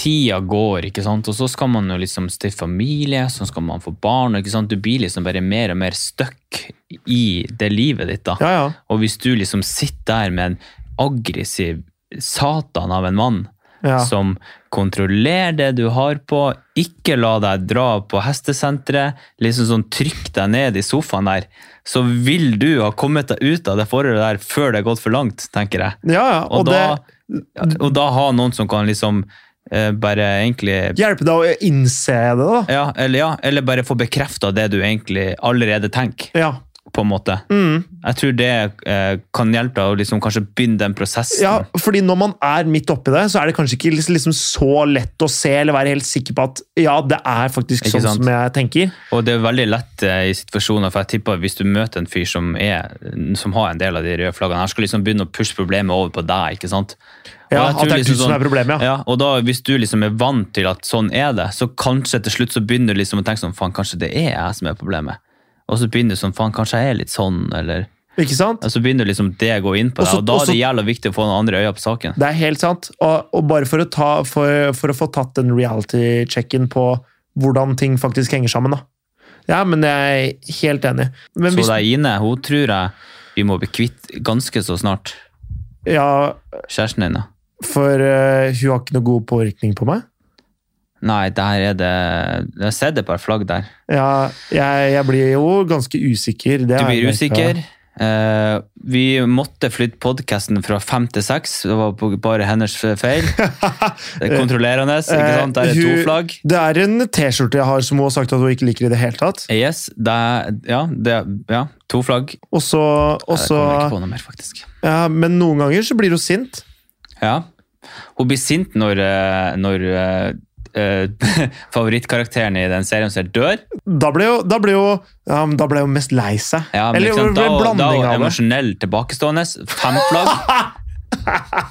Speaker 1: tida går, ikke sant? og så skal man jo liksom stifte familie, så skal man få barn. ikke sant? Du blir liksom bare mer og mer stuck i det livet ditt. da.
Speaker 2: Ja, ja.
Speaker 1: Og hvis du liksom sitter der med en aggressiv satan av en mann
Speaker 2: ja.
Speaker 1: som kontrollerer det du har på, ikke la deg dra på hestesenteret, liksom sånn trykk deg ned i sofaen der, så vil du ha kommet deg ut av det forholdet der før det har gått for langt, tenker jeg.
Speaker 2: ja, ja.
Speaker 1: Og,
Speaker 2: Og, det
Speaker 1: da, og da ha noen som kan liksom eh, bare egentlig
Speaker 2: hjelper deg å innse det, da.
Speaker 1: ja eller, ja, eller bare få bekrefta det du egentlig allerede tenker,
Speaker 2: Ja.
Speaker 1: på en måte.
Speaker 2: Mm.
Speaker 1: Jeg tror det eh, kan hjelpe deg å liksom kanskje begynne den prosessen.
Speaker 2: Ja, fordi når man er midt oppi det, så er det kanskje ikke liksom- liksom så lett å se eller være helt sikker på at ja, det er faktisk
Speaker 1: Ikke
Speaker 2: sånn
Speaker 1: sant?
Speaker 2: som jeg tenker.
Speaker 1: Og det er veldig lett eh, i situasjoner, for jeg tipper at hvis du møter en fyr som, er, som har en del av de røde flaggene, her skal liksom begynne å pushe problemet over på deg, ikke sant? Og
Speaker 2: Ja,
Speaker 1: jeg tror
Speaker 2: At det er
Speaker 1: liksom
Speaker 2: du som
Speaker 1: sånn-
Speaker 2: er problemet, ja.
Speaker 1: Ja, og da hvis du liksom er vant til at sånn er det, så kanskje til slutt så begynner du liksom å tenke sånn, faen, kanskje det er jeg som er problemet. Og så begynner du sånn, faen, kanskje jeg er litt sånn, eller...
Speaker 2: Ikke sant?
Speaker 1: Og så begynner liksom det å gå inn på deg,
Speaker 2: Også-
Speaker 1: og da er det
Speaker 2: også-
Speaker 1: jævla viktig å få noen andre øyne på saken.
Speaker 2: Det er helt sant. Og, og bare for å, ta, for, for å få tatt den reality-checken på hvordan ting faktisk henger sammen, da. Ja, men jeg er helt enig. Men
Speaker 1: Så
Speaker 2: hvis,
Speaker 1: det er Ine, hun tror jeg vi må bli kvitt ganske så snart.
Speaker 2: ja,
Speaker 1: Kjæresten din, ja.
Speaker 2: for eh, hun har ikke noe god påvirkning på meg.
Speaker 1: Nei, der er det... Jeg har sett et par flagg der.
Speaker 2: Ja, jeg, jeg blir jo ganske usikker.
Speaker 1: Du
Speaker 2: Det har jeg
Speaker 1: blir
Speaker 2: merket.
Speaker 1: usikker. Eh, vi måtte flytte podkasten fra fem til seks. Det var på- bare hennes feil. Det er Kontrollerende. ikke sant? Der er to
Speaker 2: Eh, Hun-
Speaker 1: flagg.
Speaker 2: Det er en T-skjorte jeg har som hun har sagt at hun ikke liker i det hele tatt.
Speaker 1: Yes, det er, ja, det er, ja, to flagg. Nei,
Speaker 2: Og så
Speaker 1: det
Speaker 2: og
Speaker 1: kommer jeg ikke
Speaker 2: så-
Speaker 1: på noe mer, faktisk.
Speaker 2: ja, Men noen ganger så blir hun sint.
Speaker 1: Ja. Hun blir sint når, eh, når eh, eh, favorittkarakteren i den serien som dør.
Speaker 2: Da ble hun, da ble hun, ja, men da ble hun mest lei seg.
Speaker 1: Ja, men
Speaker 2: Eller
Speaker 1: liksom,
Speaker 2: hun ble
Speaker 1: da,
Speaker 2: en
Speaker 1: da, da
Speaker 2: blanding
Speaker 1: er
Speaker 2: av
Speaker 1: hun
Speaker 2: det.
Speaker 1: emosjonell tilbakestående. Fem flagg.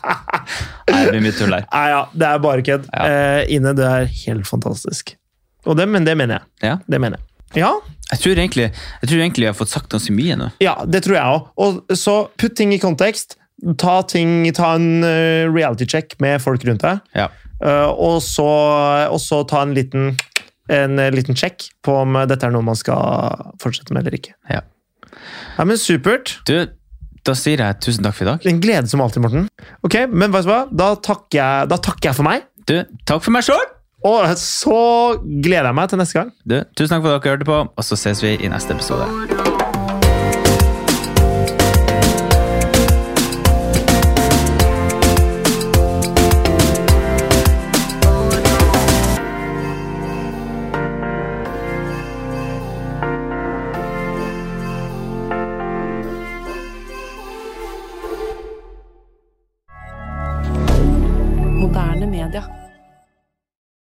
Speaker 1: Nei, det blir mye tull her.
Speaker 2: Nei, ja, det er bare kødd.
Speaker 1: Ja.
Speaker 2: Eh, Ine, det er helt fantastisk. Og det, men det mener jeg.
Speaker 1: Ja.
Speaker 2: Det mener jeg. Ja,
Speaker 1: Jeg tror egentlig jeg tror egentlig jeg har fått sagt ganske mye nå.
Speaker 2: Ja, det tror jeg òg. Og så putt ting i kontekst. Ta, ting, ta en eh, reality check med folk rundt deg.
Speaker 1: Ja.
Speaker 2: Eh, og, så, og så ta en liten en eh, liten sjekk på om dette er noe man skal fortsette med eller ikke.
Speaker 1: Ja.
Speaker 2: Nei, men Supert.
Speaker 1: Du, da sier jeg tusen takk for i dag.
Speaker 2: En glede som alltid, Morten. Ok, men vet du hva? Da takker jeg, da takker jeg for meg.
Speaker 1: Du, takk for meg sjøl!
Speaker 2: Og så gleder jeg meg til neste gang.
Speaker 1: Du, tusen takk for at dere hørte på, og så ses vi i neste episode.